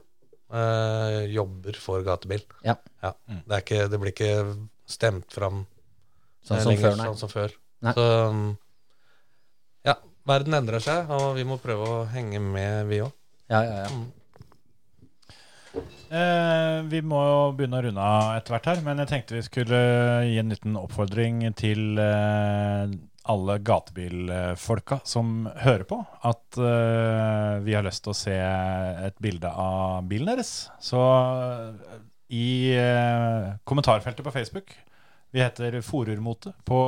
S6: eh, jobber for gatebil.
S5: Ja.
S6: Det, er ikke, det blir ikke stemt fram
S5: Sånn
S6: eh,
S5: som
S6: lenger
S5: før, nei.
S6: sånn som før.
S5: Nei.
S6: Så um, ja, verden endrer seg, og vi må prøve å henge med, vi òg.
S5: Ja, ja, ja.
S3: Eh, vi må jo begynne å runde av etter hvert her, men jeg tenkte vi skulle gi en liten oppfordring til eh, alle gatebilfolka som hører på, at eh, vi har lyst til å se et bilde av bilen deres. Så eh, i eh, kommentarfeltet på Facebook vi heter Forurmote på,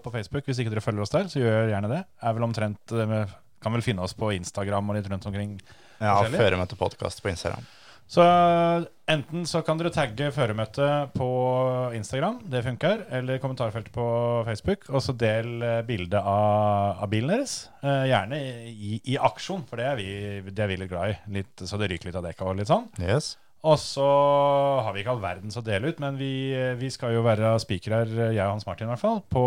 S3: på Facebook. Hvis ikke dere følger oss der, så gjør gjerne det. Er vel omtrent, eh, Kan vel finne oss på Instagram og litt rundt omkring
S4: Ja,
S3: Forskjellig.
S4: fører meg til podkast på Instagram.
S3: så enten så kan dere tagge føremøtet på Instagram, det funker, eller kommentarfeltet på Facebook, og så del eh, bildet av, av bilen deres. Eh, gjerne i, i aksjon, for det er vi, det er vi litt glad i, litt, så det ryker litt av dekka og litt sånn.
S4: Yes.
S3: Og så har vi ikke all verdens å dele ut, men vi, eh, vi skal jo være spikere, jeg og Hans Martin i hvert fall, på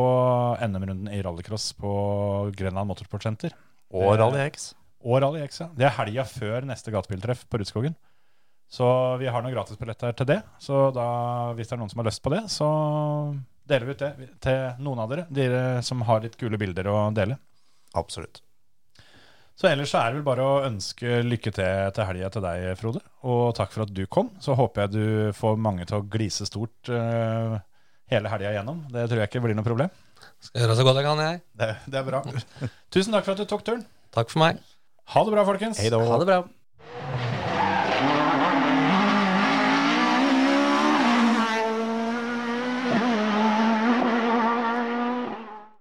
S3: NM-runden i rallycross på Grenland Motorsport Center.
S4: Og
S3: Det-
S4: Rally X.
S3: og Rally X. ja. Det er helga før neste gatebiltreff på Rudskogen. Så vi har noen gratisbilletter til det. Så da, hvis det er noen som har lyst på det, så deler vi ut det til noen av dere. Dere som har litt kule bilder å dele.
S4: Absolutt.
S3: Så ellers så er det vel bare å ønske lykke til til helga til deg, Frode. Og takk for at du kom. Så håper jeg du får mange til å glise stort eh, hele helga igjennom. Det tror jeg ikke blir noe problem.
S6: Skal gjøre så godt jeg kan, jeg.
S3: Det, det er bra. Tusen takk for at du tok turen.
S6: Takk for meg.
S3: Ha det bra, folkens.
S4: Hei da.
S5: Ha det bra.